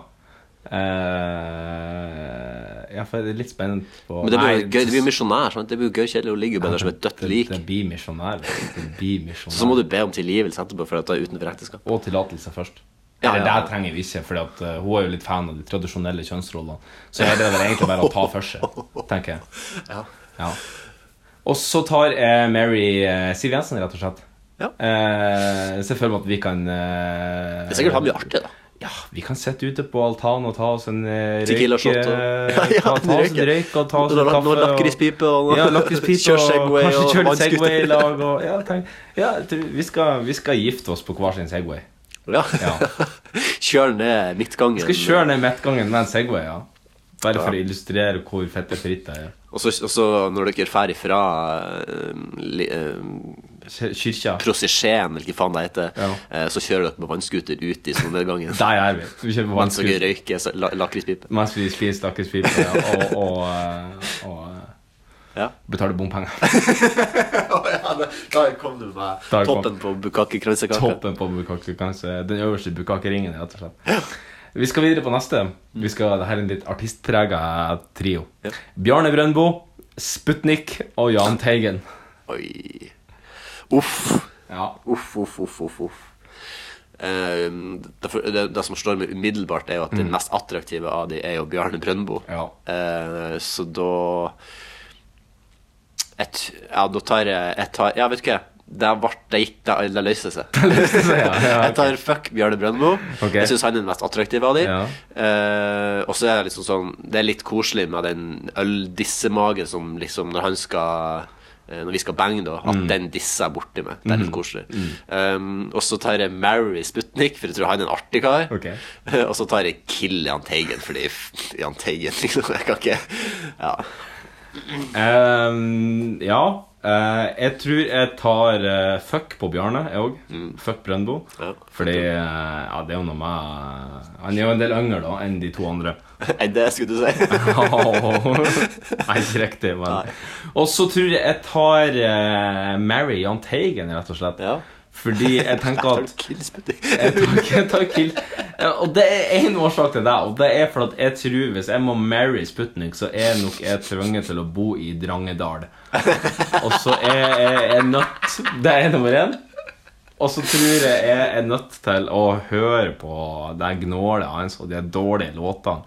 Eh, ja, for det er litt spennende på Men det blir Nei, jo gøy, det blir jo misjonær, sant? Det blir jo gøy kjedelig å ligge bare der som et dødt det- lik. Det blir misjonær. Det blir misjonær. Så må du be om tilgivelse etterpå for at du er utenfor ekteskap. Og tillatelse først. Ja, Eller ja, ja. det trenger vi ikke, for hun er jo litt fan av de tradisjonelle kjønnsrollene. Så her er det vel egentlig bare å ta for seg, tenker jeg. Ja. Og så tar eh, Mary eh, Siv Jensen, rett og slett. Ja. Eh, jeg ser for meg at vi kan eh, Det er sikkert han blir artig, da. Ja, vi kan sitte ute på altanen og ta oss en eh, røyk. Tequila shot og- eh, Ja, ja, ta, ta oss en en røyk. røyk og ta oss Noe en lak- kaffe. noe lakrispipe og- ja, lakrispipe Kjør og Segway kanskje og kjøre vannskuter. Segway i lag. Og, ja, tenk, ja, jeg tror vi, skal, vi skal gifte oss på hver sin Segway. Ja. Ja. Kjør ned midtgangen. Vi skal kjøre ned midtgangen med en Segway, ja. Bare for å illustrere hvor fette fritt det er. Og så, og så når dere drar ifra eh, li- eh, Kir- Kirka. prosesjen, eller hva faen det heter, Ja. eh, så kjører dere med vannskuter ut i solnedgangen. Der er vi. Vi kjører på Mens dere vannskuter røyker så- la- lakrispipe. mens vi spiser lakrispipe ja, og, og, eh, og, eh, Ja. betaler bompenger. Der kom du med Der kom- toppen på bukkakekransekaka. Toppen på bukake, kanskje. Den øverste bukakeringen, rett og slett. Vi skal videre på neste. Vi skal, Dette er en litt artistprega trio. Bjarne Brøndbo, Sputnik og Jahn Teigen. Oi. Uff. Ja. Uff, uff, uff, uff, uff. Eh, derfor, det, det som slår meg umiddelbart, er jo at den mest attraktive av de er jo Bjarne Brøndbo. Mm. Ja. Eh, så da et, Ja, da tar jeg, jeg tar, Ja, vet du hva? Det, ble, det, gikk, det, det løser seg. Så, ja, ja. Jeg tar fuck Bjarne Brøndbo. Ok. Jeg syns han er den mest attraktive av de. Ja. Eh, og så er det liksom sånn Det er litt koselig med den øldissemagen som liksom Når han skal eh, Når vi skal bange, da, Mm. at den disser jeg borti meg. Det er litt koselig. Um, og så tar jeg Mary Sputnik, for jeg tror han er en artig kar. Eh, Ok. og så tar jeg Kill Jahn Teigen, fordi f- Jahn Teigen liksom, Jeg kan ikke Ja. Ehm, ja. eh, jeg tror jeg tar eh, fuck på Bjarne, jeg òg. Fuck Brøndbo. Ja. Fordi eh, ja, det er jo noe med Han er jo en del yngre da enn de to andre. Nei, det skulle du si. Nei, ikke riktig, men Og så tror jeg jeg tar eh, Mary Jahn Teigen, rett og slett. Ja. Fordi jeg tenker Tar du at Kill Sputnik? jeg tar, jeg tar kill. Ja, Og det er én årsak til det. Og det er for at jeg tror hvis jeg må marry Sputnik, så er nok jeg tvunget til å bo i Drangedal. Og så er jeg er nødt Det er nummer én. Og så tror jeg jeg er nødt til å høre på det gnålet hans og de dårlige låtene.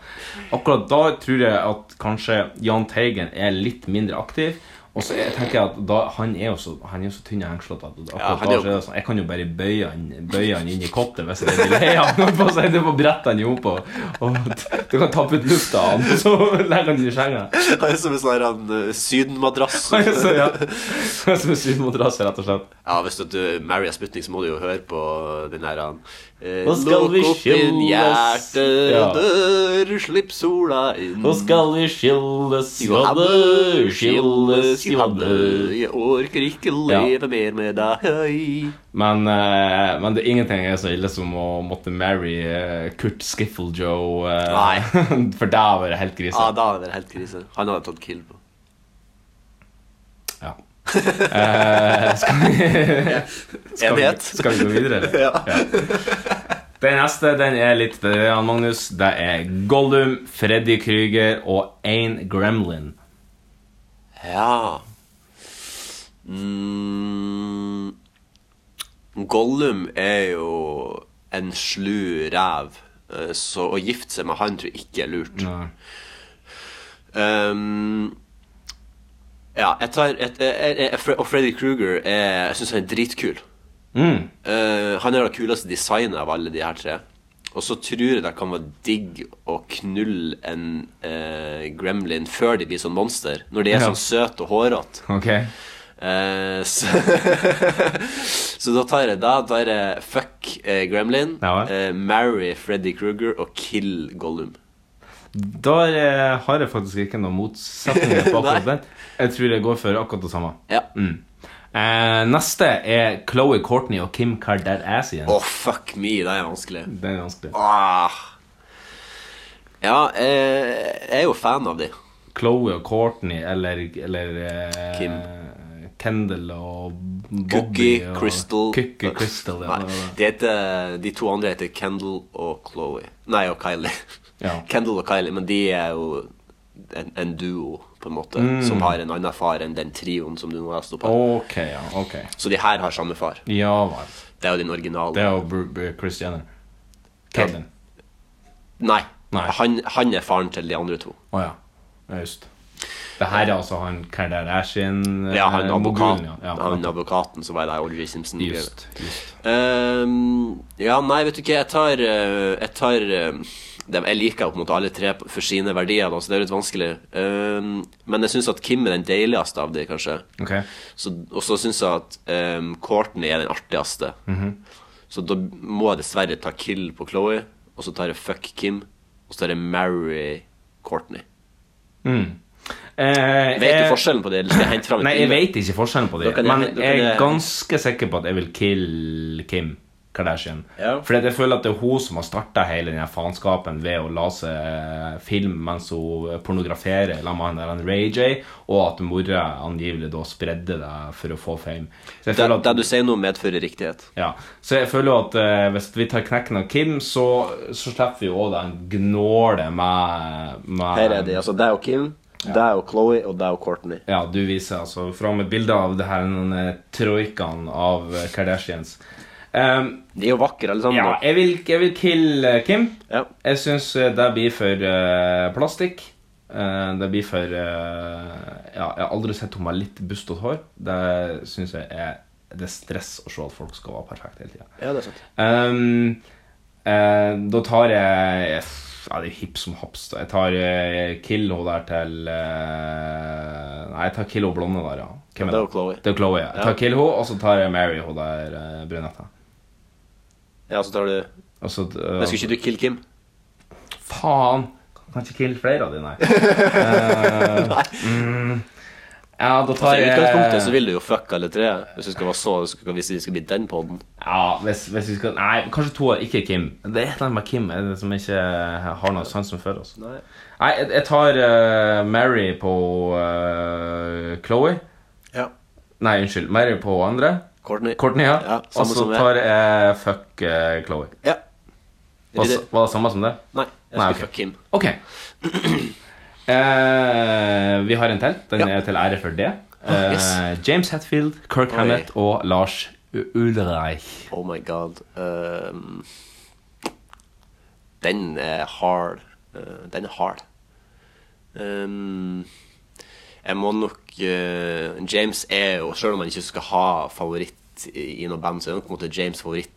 Akkurat da tror jeg at kanskje Jahn Teigen er litt mindre aktiv. Og så jeg tenker jeg at da, Han er jo så, han er jo så tynn og hengslete at akkurat han er da jo- så er det sånn, jeg kan jo bare bøye han, bøye han inn i kottet hvis jeg vil leie han opp. Og så er det på brette han ihop, og, og du kan tappe ut lufta av han, og så legger han den i senga. Han er som en sånn her, han, eh, sydenmadrass. Så, ja. Som en syvmodrass, rett og slett. Ja, hvis du marrier Sputnik, så må du jo høre på den her han, eh, Nå skal vi Lukk opp din skilles. Ja. hjertedør, slipp sola inn. Nå skal vi skilles, Johanne, Johanne, skilles, Johanne, Johanne. jeg orker ikke Ja. leve mer med deg. Hei. Men, eh, men det er ingenting er så ille som å måtte marry eh, Kurt Skifflejoe. eh, Nei. for det var det helt krise. Ja, da er det helt krise. Han hadde tatt kill på. Ja. Eh, skal, skal, vi, Enighet. skal vi gå videre, eller? Ja. Den neste den er litt det er han, Magnus. Det er Gollum, Freddy Krüger og Ain Gremlin. Ja mm. Gollum er jo en slu ræv, eh, så å gifte seg med han tror jeg ikke er lurt. Nei. Ehm, ja, jeg tar et, jeg, jeg, jeg, Og Freddy Kruger er Jeg syns han er dritkul. Mm. Eh, han er det kuleste designet av alle de her tre. Og så tror jeg det kan være digg å knulle en eh, gremlin før de blir sånn monster. Når de er Ja. sånn søte og hårete. Ok. Eh, så, så da tar jeg da tar jeg fuck eh, gremlin, Ja vel. eh, marry Freddy Kruger og kill Gollum. Da eh, har jeg faktisk ikke noen motsetninger på akkurat Nei. den. Jeg tror jeg går for akkurat det samme. Ja. Å, Mm. Eh, neste er Chloé Courtney og Kim Kardashian. fuck me, det er vanskelig. Det er vanskelig. Ah. Ja, eh, jeg er jo fan av de. Chloé og Courtney eller, eller eh, Kim. Kendall og Bobby Cookie, og Crystal Cookie Crystal, ja. det var Nei, det. de, heter, de to andre heter Kendall og Chloé. Nei, og Kylie. Ja. Kendall og Kylie, men de er jo en, en duo, på en måte, Mm. som har en annen far enn den trioen som du nå leste opp. her. Ok, ja. ok Så de her har samme far. Ja vel. Det er jo den originale. Det er jo Br- Br- Chris Jenner. Caitlyn. Nei. Nei. Han, han er faren til de andre to. Å ja. ja. Just. Det her er altså han Kardashian eh, Ja, han advokaten, mogulen, ja. han Ja, advokaten som var der Audrey Simpson. Just, just. Ehm, ja, nei, vet du ikke, jeg tar, eh, jeg, tar eh, det, jeg liker jo på en måte alle tre p- for sine verdier, da, så det er litt vanskelig. Ehm, men jeg syns at Kim er den deiligste av de, kanskje. Ok. Så- Og så syns jeg at ehm, Courtney er den artigste. Mhm. Så da må jeg dessverre ta kill på Chloé, og så tar jeg fuck Kim, og så tar jeg marry Courtney. Eh, Vet du jeg- forskjellen på det? Eller skal jeg hente fram et Nei, jeg bilde? vet ikke forskjellen på Da det, kan jeg- men da kan jeg er jeg- ganske sikker på at jeg vil kill Kim Kardashian. Ja. Fordi at jeg føler at det er hun som har starta hele den her faenskapen ved å la seg film mens hun pornograferer sammen med han der han Ray J, og at mora angivelig da spredde det for å få fame. Så jeg Det, føler at det du sier nå, medfører riktighet. ja, Så jeg føler jo at eh, hvis vi tar knekken av Kim, så, så slipper vi jo òg den gnålet med, med Her er de, altså deg og Kim, deg og Chloé og deg og Courtney. Ja, du viser altså fram et bilde av det her denne troikaen av eh, Kardashians. Ehm, De er jo vakre alle sammen. ja, da. jeg vil, jeg vil kill eh, Kim. Ja. Jeg syns det blir for eh, plastikk. Eh, det blir for eh, Ja, jeg har aldri sett henne med litt bustete hår. Det syns jeg er Det er stress å se at folk skal være perfekte hele tida. Ja, det er sant. Ehm, eh, da tar jeg Ja, det er hipp som haps. da. Jeg tar eh, kill henne der til eh, Nei, jeg tar kill henne blonde der, ja. Hvem Ja, det er jo Chloe. Det er Chloe, ja. Jeg tar Ja. kill henne, og så tar jeg Mary henne der eh, brunetta. Ja, så tar du Men Og så eh, Skulle ikke du kill Kim? Faen! Kan ikke kill flere av de, nei. Eh, mm, ja, da Så tar Altså, I jeg utgangspunktet så vil du jo fuck alle tre. Hvis du skal være så skal- Hvis vi skal bli den podden Ja, hvis, hvis vi skal Nei, kanskje to, ikke Kim. Det er et eller annet med Kim er det som ikke har noe sansen for oss. Nei. Nei, jeg, jeg tar eh, Mary på eh, Chloe. Ja. Nei, unnskyld. Mary på andre. Courtney. Courtney, ja. Ja, Og samme så som jeg. tar jeg fuck eh, Chloe. Ja. Var, Riktig. var det samme som det? Nei, jeg Nei, skal ok. fuck Kim. Ok. Eh, vi har en til. Den Ja. er til ære for det. Ah, yes. Eh, James Hetfield, Kirk Oi. Hammett og Lars U- Ulreich. Oh my god. Ehm, den er hard. Eh, den er hard. Ehm, jeg må nok eh, James er jo, selv om han ikke skal ha favoritt i, i noe band, så er nok på en måte James favoritten.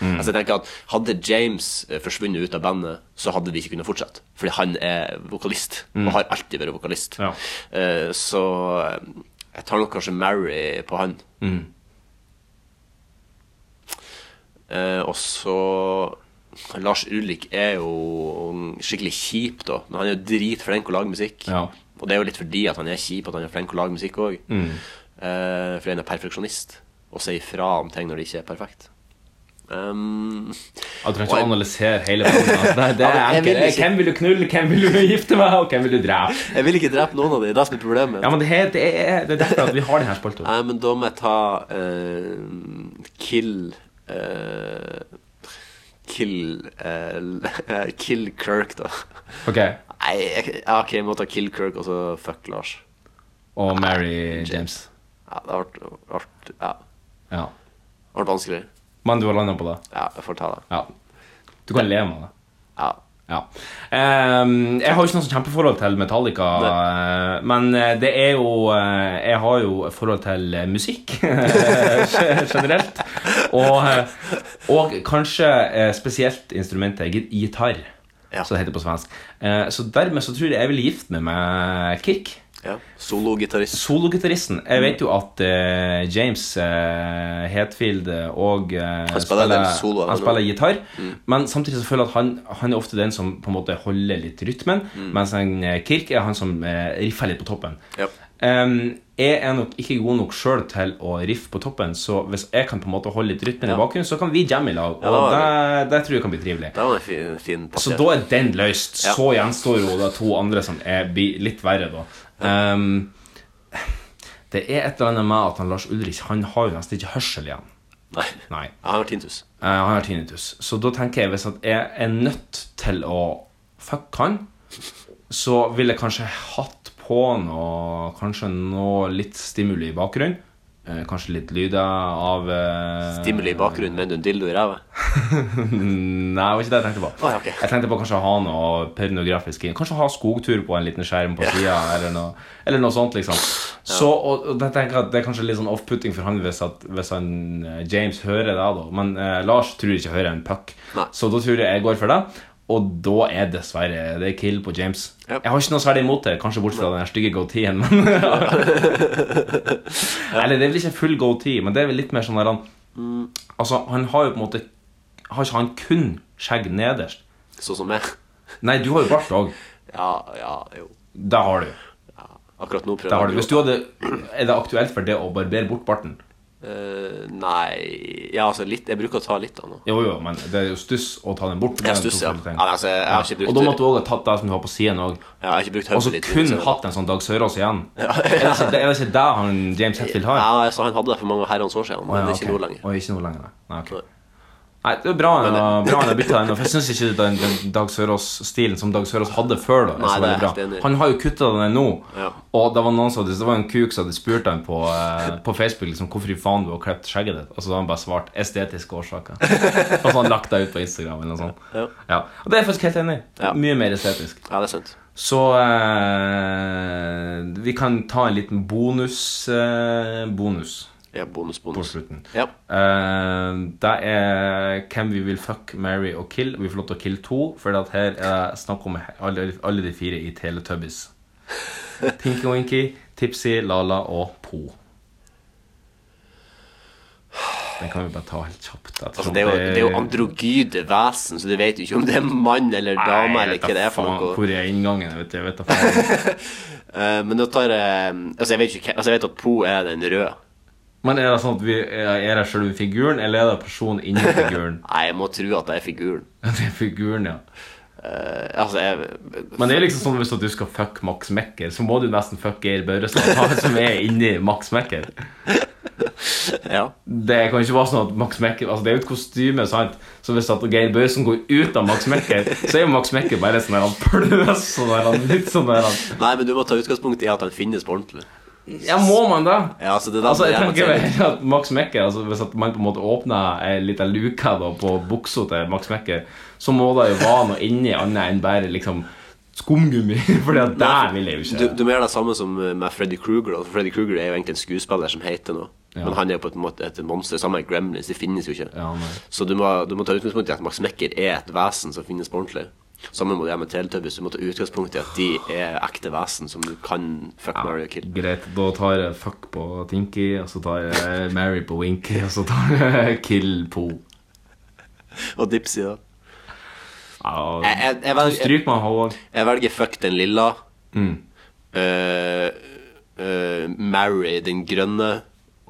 Altså jeg tenker at Hadde James eh, forsvunnet ut av bandet, så hadde de ikke kunnet fortsette. Fordi han er vokalist, og har alltid vært vokalist. Ja. Eh, så eh, jeg tar nok kanskje Mary på han. Eh, og så Lars Ulrik er jo skikkelig kjip, da. Men han er jo dritflink til å lage musikk. Ja. Og det er jo litt fordi at han er kjip, at han er flink til å lage musikk òg. Mm. fordi han er perfeksjonist og sier fra om ting når det ikke er perfekt. Um, Jeg trenger ikke å analysere hele bandet. altså. Nei, det Ja, er men jeg vil enkelt. ikke- Hvem vil du knulle, hvem vil du gifte med, og hvem vil du drepe? jeg vil ikke drepe noen av dem, det er det som er problemet. Ja, men det, er- det, er, det er derfor at vi har denne spalta. Nei, men da må jeg ta eh, Kill eh, Kill eh, Kill Kirk, da. Ok, Nei, jeg, ja, ok, jeg må ta Kill Kirk og så fuck Lars. Og Mary James. Ja, det har vært, vært, ja, det Ja. har vært vanskelig. Men du har landa på det? Ja, jeg får ta det. Ja. Du kan leve med det. Ja. Ja. Ehm, jeg har jo ikke noe sånn kjempeforhold til Metallica, eh, men eh, det er jo eh, Jeg har jo et forhold til eh, musikk generelt. Og, eh, og kanskje eh, spesielt instrumentet git- gitar, Ja. som det heter på svensk. Eh, Så dermed så tror jeg jeg ville gifte meg med Kirk. Ja. Sologitarist. Sologitaristen. Jeg vet jo at eh, James uh, Hetfield eh, og eh, Han spiller en del solo, Mm. han han spiller gitar, men samtidig så føler jeg at han, han er ofte den som på en måte holder litt rytmen, mens han, eh, Kirk er han som eh, riffer litt på toppen. Mm. Ja. Em, jeg er nok ikke god nok sjøl til å riffe på toppen, så hvis jeg kan på en måte holde litt rytmen i bakgrunnen, så kan vi jamme i lag, og da det, det tror jeg kan bli trivelig. Det var en fin, fin Så passert. da er den løst. Ja. Så gjenstår jo da to andre som er bi- litt verre, da. Ehm, det er et eller annet med at han Lars Ulrich Han har jo nesten ikke hørsel igjen. Nei. Nei. Ja, han har tintus. Eh, han har tinnitus. Så da tenker jeg hvis at jeg er nødt til å fucke han, så ville jeg kanskje hatt på noe Kanskje noe litt stimuli i bakgrunnen. Eh, kanskje litt lyder av eh, Stimuli i bakgrunnen, men du en dildo i ræva. Nei, det var ikke det jeg tenkte på. Å, ja, ok. Jeg tenkte på kanskje å ha noe pornografisk inn. Kanskje ha skogtur på en liten skjerm på sida, eller, noe- eller noe sånt, liksom. Så, og, og jeg tenker at Det er kanskje litt sånn off-putting for han hvis, at, hvis han, eh, James hører det, da. Men eh, Lars tror ikke hører en puck, Nei. så da tror jeg jeg går for det. Og da er dessverre det er kill på James. Ja. Jeg har ikke noe særlig imot det, kanskje bortsett fra den her stygge goateen. Men Eller det er vel ikke full goatee, men det er vel litt mer sånn der han Mm. Altså, han har jo på en måte Har ikke han kun skjegg nederst? Sånn som meg. Nei, du har jo bart òg. Ja, ja, jo. Det har du. Akkurat nå prøver Det har du. jeg å- Hvis du hadde Er det aktuelt for det å barbere bort barten? Eh, nei Ja, altså litt Jeg bruker å ta litt av nå. Jo, jo, men det er jo stuss å ta den bort. Det er jo Jeg to stusser, ja. forskjellige ting. ja men, altså, jeg har ikke brukt Og da måtte du òg ha tatt det som du har på siden òg. Ja, Jeg har ikke brukt Og så hodet litt. Altså, kun så- hatt en sånn Dag Sørås igjen. Er det ikke er det ikke det han James Hetfield har? Ja, jeg sa han hadde det for mange herrens år siden, men Å, ja, det er ikke ok. noe lenger. Å, ikke noe lenger, nei. Nei, ok. nei det er bra han har- bra han har bytta den. For jeg syns ikke den, den Dag Sørås-stilen som Dag Sørås hadde før, da, er Nei, så det er veldig jeg bra. helt enig i. Han har jo kutta den nå. Ja. Og det var noen som hadde, det var en kuk som hadde spurt han på, eh, på Facebook liksom, hvorfor i faen du har klippet skjegget ditt. Og så hadde han bare svart 'estetiske årsaker'. Og så hadde han lagt det ut på Instagram. eller noe sånt. Ja. Og det er jeg faktisk helt enig i. Ja. Mye mer estetisk. Ja, det er sant. Så eh, vi kan ta en liten bonus, eh, bonus Ja, bonus, på bonus. slutten. Ja. Eh, det er hvem vi vil fuck, marry og kill. Vi får lov til å kille to, for at her er det snakk om alle, alle de fire i Teletubbies. Tinky Winky, Tipsy, Lala og Po. Den kan vi bare ta helt kjapt. Sånn, jeg Altså, tror det er jo, det er jo androgyde vesen, så du vet jo ikke om det er mann eller dame Nei, eller jeg vet hva det da er for faen noe. Hvor er inngangen? Jeg vet, jeg vet da faen. Eh, men da tar jeg Altså, jeg vet, ikke, hva- altså, jeg vet at Po er den røde. Men er det sånn at vi er det selve figuren, eller er det personen inni figuren? Nei, jeg må tro at det er figuren. det er figuren, ja. Eh, altså, jeg Men det er liksom sånn hvis at du skal fuck Max Mekker, så må du nesten fuck Geir Børrestad, han som er inni Max Mekker. Ja. Det kan ikke være sånn at Max Mekker Altså, det er jo et kostyme, sant, så hvis at Geir Børresen går ut av Max Mekker, så er jo Max Mekker bare sånn der han pløs, sånn der han litt sånn der han Nei, men du må ta utgangspunkt i at han finnes på ordentlig. Ja, må man det? Ja, altså, det er den Altså, jeg jeg må tenker tenke. vel at Max Mekker altså, Hvis at man på en måte åpner ei lita luke da, på buksa til Max Mekker, så må det jo være noe inni annet enn bare liksom skumgummi, Fordi at der vil jeg jo Du, ikke du må gjøre det samme som med Freddy Kruger. da, For Freddy Kruger er jo egentlig en skuespiller som heter noe. Men han er jo på en måte et monster. Samme med Gremlins, de finnes jo ikke. Ja, nei. så du må, du må ta utgangspunkt i at Max Mekker er et vesen som finnes på ordentlig. Samme må du gjøre med Teletubbies. Du må ta utgangspunkt i at de er ekte vesen som du kan fuck, marry og kill. Greit, da tar jeg fuck på Tinky, og så tar jeg Mary på Winky, og så tar jeg kill på Og Dipsy, da. ja, Jeg, jeg, jeg, velger, jeg, Stryk meg, Håvard. jeg velger fuck den lilla. Mm. Eh, eh, marry den grønne.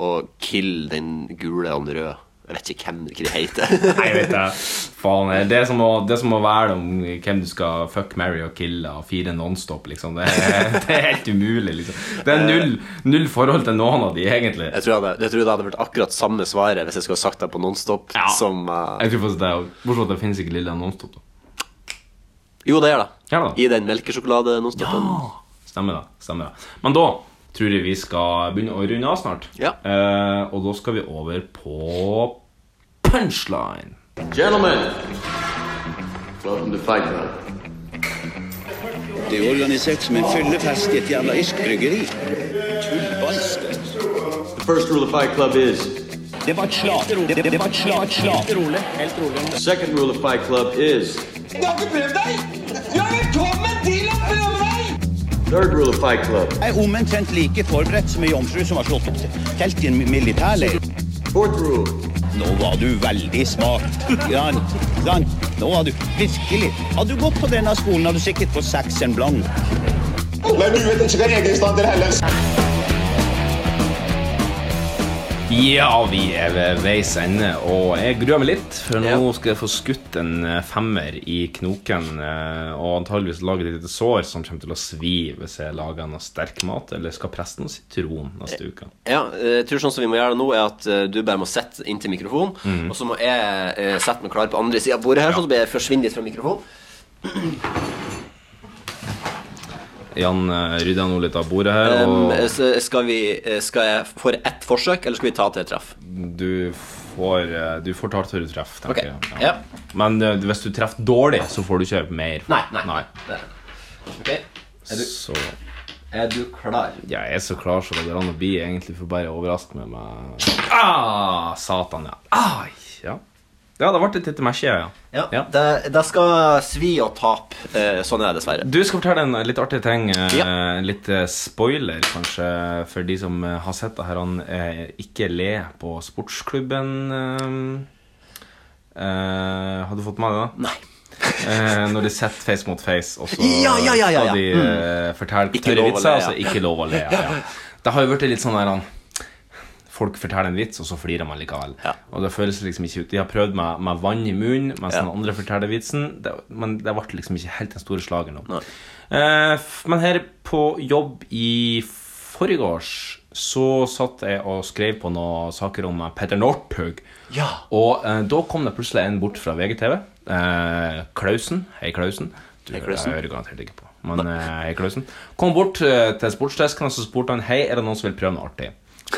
Og kill den gule og den røde. Jeg vet ikke hvem hva de heter. Nei, vet jeg. Faen, det er som å, det er som å være om hvem du skal fuck, marry og kill av fire nonstop, liksom. Det er, det er helt umulig, liksom. Det er null, null forhold til noen av de, egentlig. Jeg tror, jeg, hadde, jeg tror det hadde vært akkurat samme svaret hvis jeg skulle ha sagt det på Nonstop. Ja. Som, eh, Jeg tror faktisk det er Bortsett fra at det finnes ikke lille nonstop. da. jo, det er det. Ja da. I den melkesjokolade Nonstopen. Stemmer det. stemmer det Men da tror jeg vi skal begynne å runde av snart. Ja. Eh, og da skal vi over på punchline. Det er organisert som en fyllefest i et jævla irsk bryggeri. The first rule of Fight Club is Det var et slag. Det, det, det var et slag. Helt slag. rolig. Helt rolig. Second rule of Fight Club is Du har ikke prøvd deg! Du er velkommen til å prøve deg! Third rule of Fight Club. Jeg er omtrent like forberedt som ei jomfru som har slått opp til telt i en militærleir. Fourth rule. Nå var du veldig smart. Jan, Jan, nå var du virkelig Hadde du gått på denne skolen, hadde du sikkert fått seks en blank. Men du vet ikke hva regelstander heller. Ja, vi er ved veis ende, og jeg gruer meg litt, for nå skal jeg få skutt en eh, femmer i knoken, eh, og antageligvis lage et lite sår som kommer til å svi hvis jeg lager noe sterk mat, eller skal presse noe sitron neste uke. Ja, eh, jeg tror sånn som vi må gjøre det nå, er at eh, du bare må sette inntil mikrofonen, Mhm. og så må jeg eh, sette meg klar på andre sida av bordet her, sånn at jeg forsvinner litt fra mikrofonen. Jan, eh, rydder nå litt av bordet her, Em, og eh, så skal, vi, eh, skal jeg få ett forsøk, eller skal vi ta til et treff? du får, eh, du får ta til du treffer, Ok, tenker jeg. Men eh, hvis du treffer dårlig, så får du ikke mer. Nei, nei. Det- Ok. Er du, Så er du klar? ja, jeg er så klar som det går an å bli, egentlig, for bare å overraske meg med Ah, satan, ja. Ah, ja. Ja, det ble et lite mesje, ja. Ja. Det, det skal svi og tape. Eh, sånn er det dessverre. Du skal fortelle en litt artig ting. eh, Ja. En litt eh, spoiler, kanskje, for de som eh, har sett det her. Han eh, ikke le på sportsklubben. eh, eh, har du fått med deg det? Nei. Eh, når de setter Face mot face, og så Ja, ja, ja, Mm. ja, ja. skal de eh, fortelle Ikke tørre lov å vitser, le, og så ja. ikke lov å le. Ja. Det har jo blitt litt sånn der han, Folk forteller en vits, og så flirer man likevel. Og det føles liksom ikke ut De har prøvd med, med vann i munnen mens Ja. den andre forteller vitsen, det, men det ble liksom ikke helt den store slageren. nå. Eh, f- men her på jobb i forgårs så satt jeg og skrev på noen saker om eh, Petter Northug. Og eh, da kom det plutselig en bort fra VGTV. Eh, Klausen. Hei, Klausen. Du eh, Hei, Klausen. Jeg hører garantert ikke på. Men eh, hei, Klausen. Kom bort eh, til sportsdesken og så spurte han Hei, er det noen som vil prøve noe artig.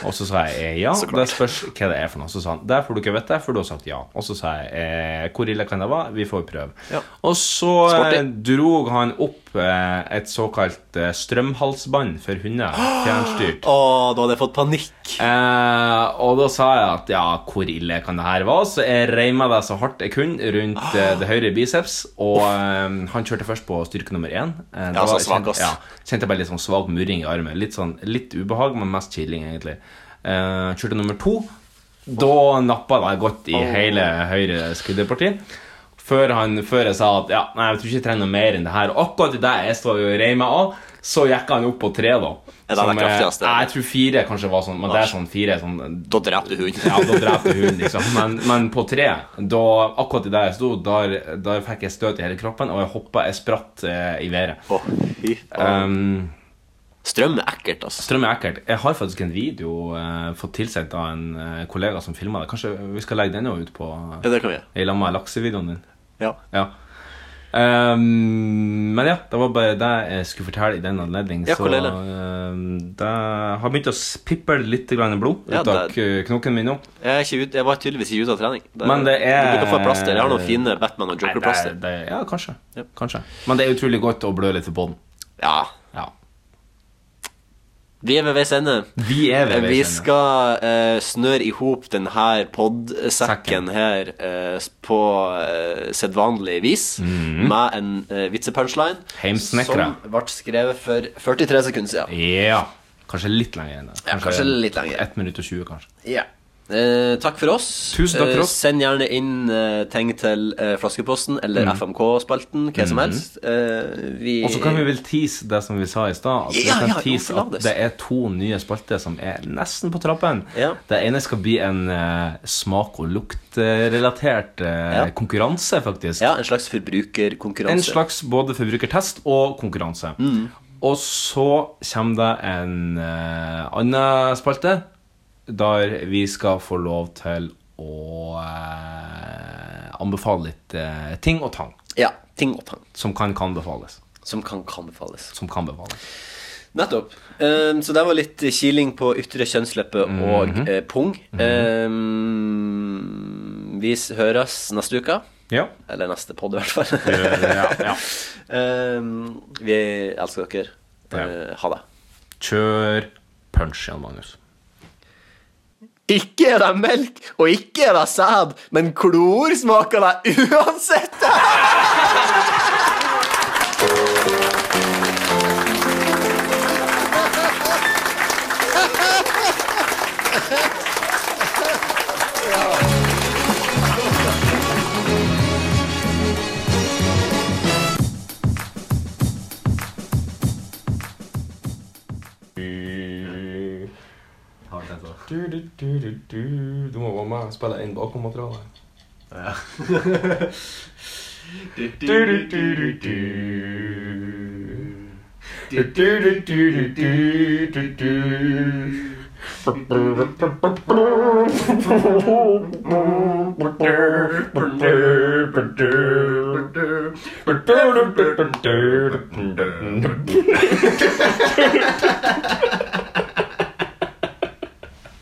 Og så sa jeg eh, ja. Så klart. Det spørs hva det er for noe. Så sa han det får du ikke vite, for du har sagt ja. Og så sa jeg eh, hvor ille kan det være? Vi får prøve. Og så eh, dro han opp eh, et såkalt eh, strømhalsbånd for hunder. Ah! Fjernstyrt. Å, da hadde jeg fått panikk. Eh, og da sa jeg at ja, hvor ille kan det her være? Så jeg reiv meg det så hardt jeg kunne rundt Ah. eh, det høyre biceps. Og eh, han kjørte først på styrke nummer én. Eh, Ja, da så var- svak, ass. kjente, ja, kjente jeg bare litt sånn svak murring i armen. Litt, sånn, litt ubehag, men mest chilling, egentlig. Eh, kjørte nummer to. Da nappa det godt i Oh. hele høyre skulderparti. Før, han, før jeg sa at ja, nei, jeg tror ikke jeg trenger noe mer enn det her. Og akkurat det jeg står og reiv meg av, så gikk han opp på tre, da. Ja, den er Som, eh, kraftigste. Nei, jeg tror fire kanskje var sånn, men det er sånn fire sånn, Da dreper du hunden. Ja, da dreper du hunden, liksom. Men, men på tre, da, akkurat der jeg sto, der, der fikk jeg støt i hele kroppen, og jeg hoppa, jeg spratt eh, i været. Um, strøm er ekkelt, altså. Strøm er ekkelt. Jeg har faktisk en video eh, fått tilsendt av en eh, kollega som filma det. Kanskje vi skal legge den også ut på Ja, det kan vi gjøre. I lag med laksevideoen din? Ja. Um, men ja, det var bare det jeg skulle fortelle i den anledning. Ja, så hvor lille? um, det har begynt å pippe litt grann blod Ja, ut av det- k- knoken min nå. Jeg, er ikke ut, jeg var tydeligvis ikke ute av trening. Det- Men det er Du bruker å få et plaster. Jeg har noen fine Batman- Nei, og det er- Joker-plaster. det er- Ja, kanskje. kanskje. Men det er utrolig godt å blø litt på den. Ja. Vi er ved veis ende. Eh, Vi er ved veis Vi ende. skal eh, snøre i hop denne podsekken her eh, på eh, sedvanlig vis Mhm. med en eh, vitsepunchline Heimsnekra. som ble skrevet for 43 sekunder siden. Ja. Kanskje litt lenger enn det. Ja, kanskje litt lenger. 1 minutt og 20, kanskje. Ja. Eh, takk for oss. Tusen takk for Eh, oss. send gjerne inn eh, ting til eh, Flaskeposten eller Mhm. FMK-spalten, hva som Mhm. helst. Eh, vi Og så kan vi vel tease det som vi sa i stad. At vi Ja, kan ja, tease hvorfor la at det? det er to nye spalter som er nesten på trappen. Ja. Det ene skal bli en eh, smak- og luktrelatert eh, Ja. konkurranse, faktisk. Ja, en slags forbrukerkonkurranse. En slags både forbrukertest og konkurranse. Mhm. Og så kommer det en eh, annen spalte der vi skal få lov til å eh, anbefale litt eh, ting og tang. Ja, ting og tang. Som kan kan befales. Som kan kan befales. Som kan befales. Nettopp. Ehm, så det var litt kiling på ytre kjønnsleppe og Mhm. eh, pung. Ehm, vi s- høres neste uke. Ja. Eller neste podd, i hvert fall. Ja, Ehm, vi elsker dere. Eh, ha det. Kjør punch, Jan Magnus. Ikke er det melk, og ikke er det sæd, men klor smaker det uansett! altså. Du, du, du, du, du. du må være med og spille inn bakommateriale. Ja.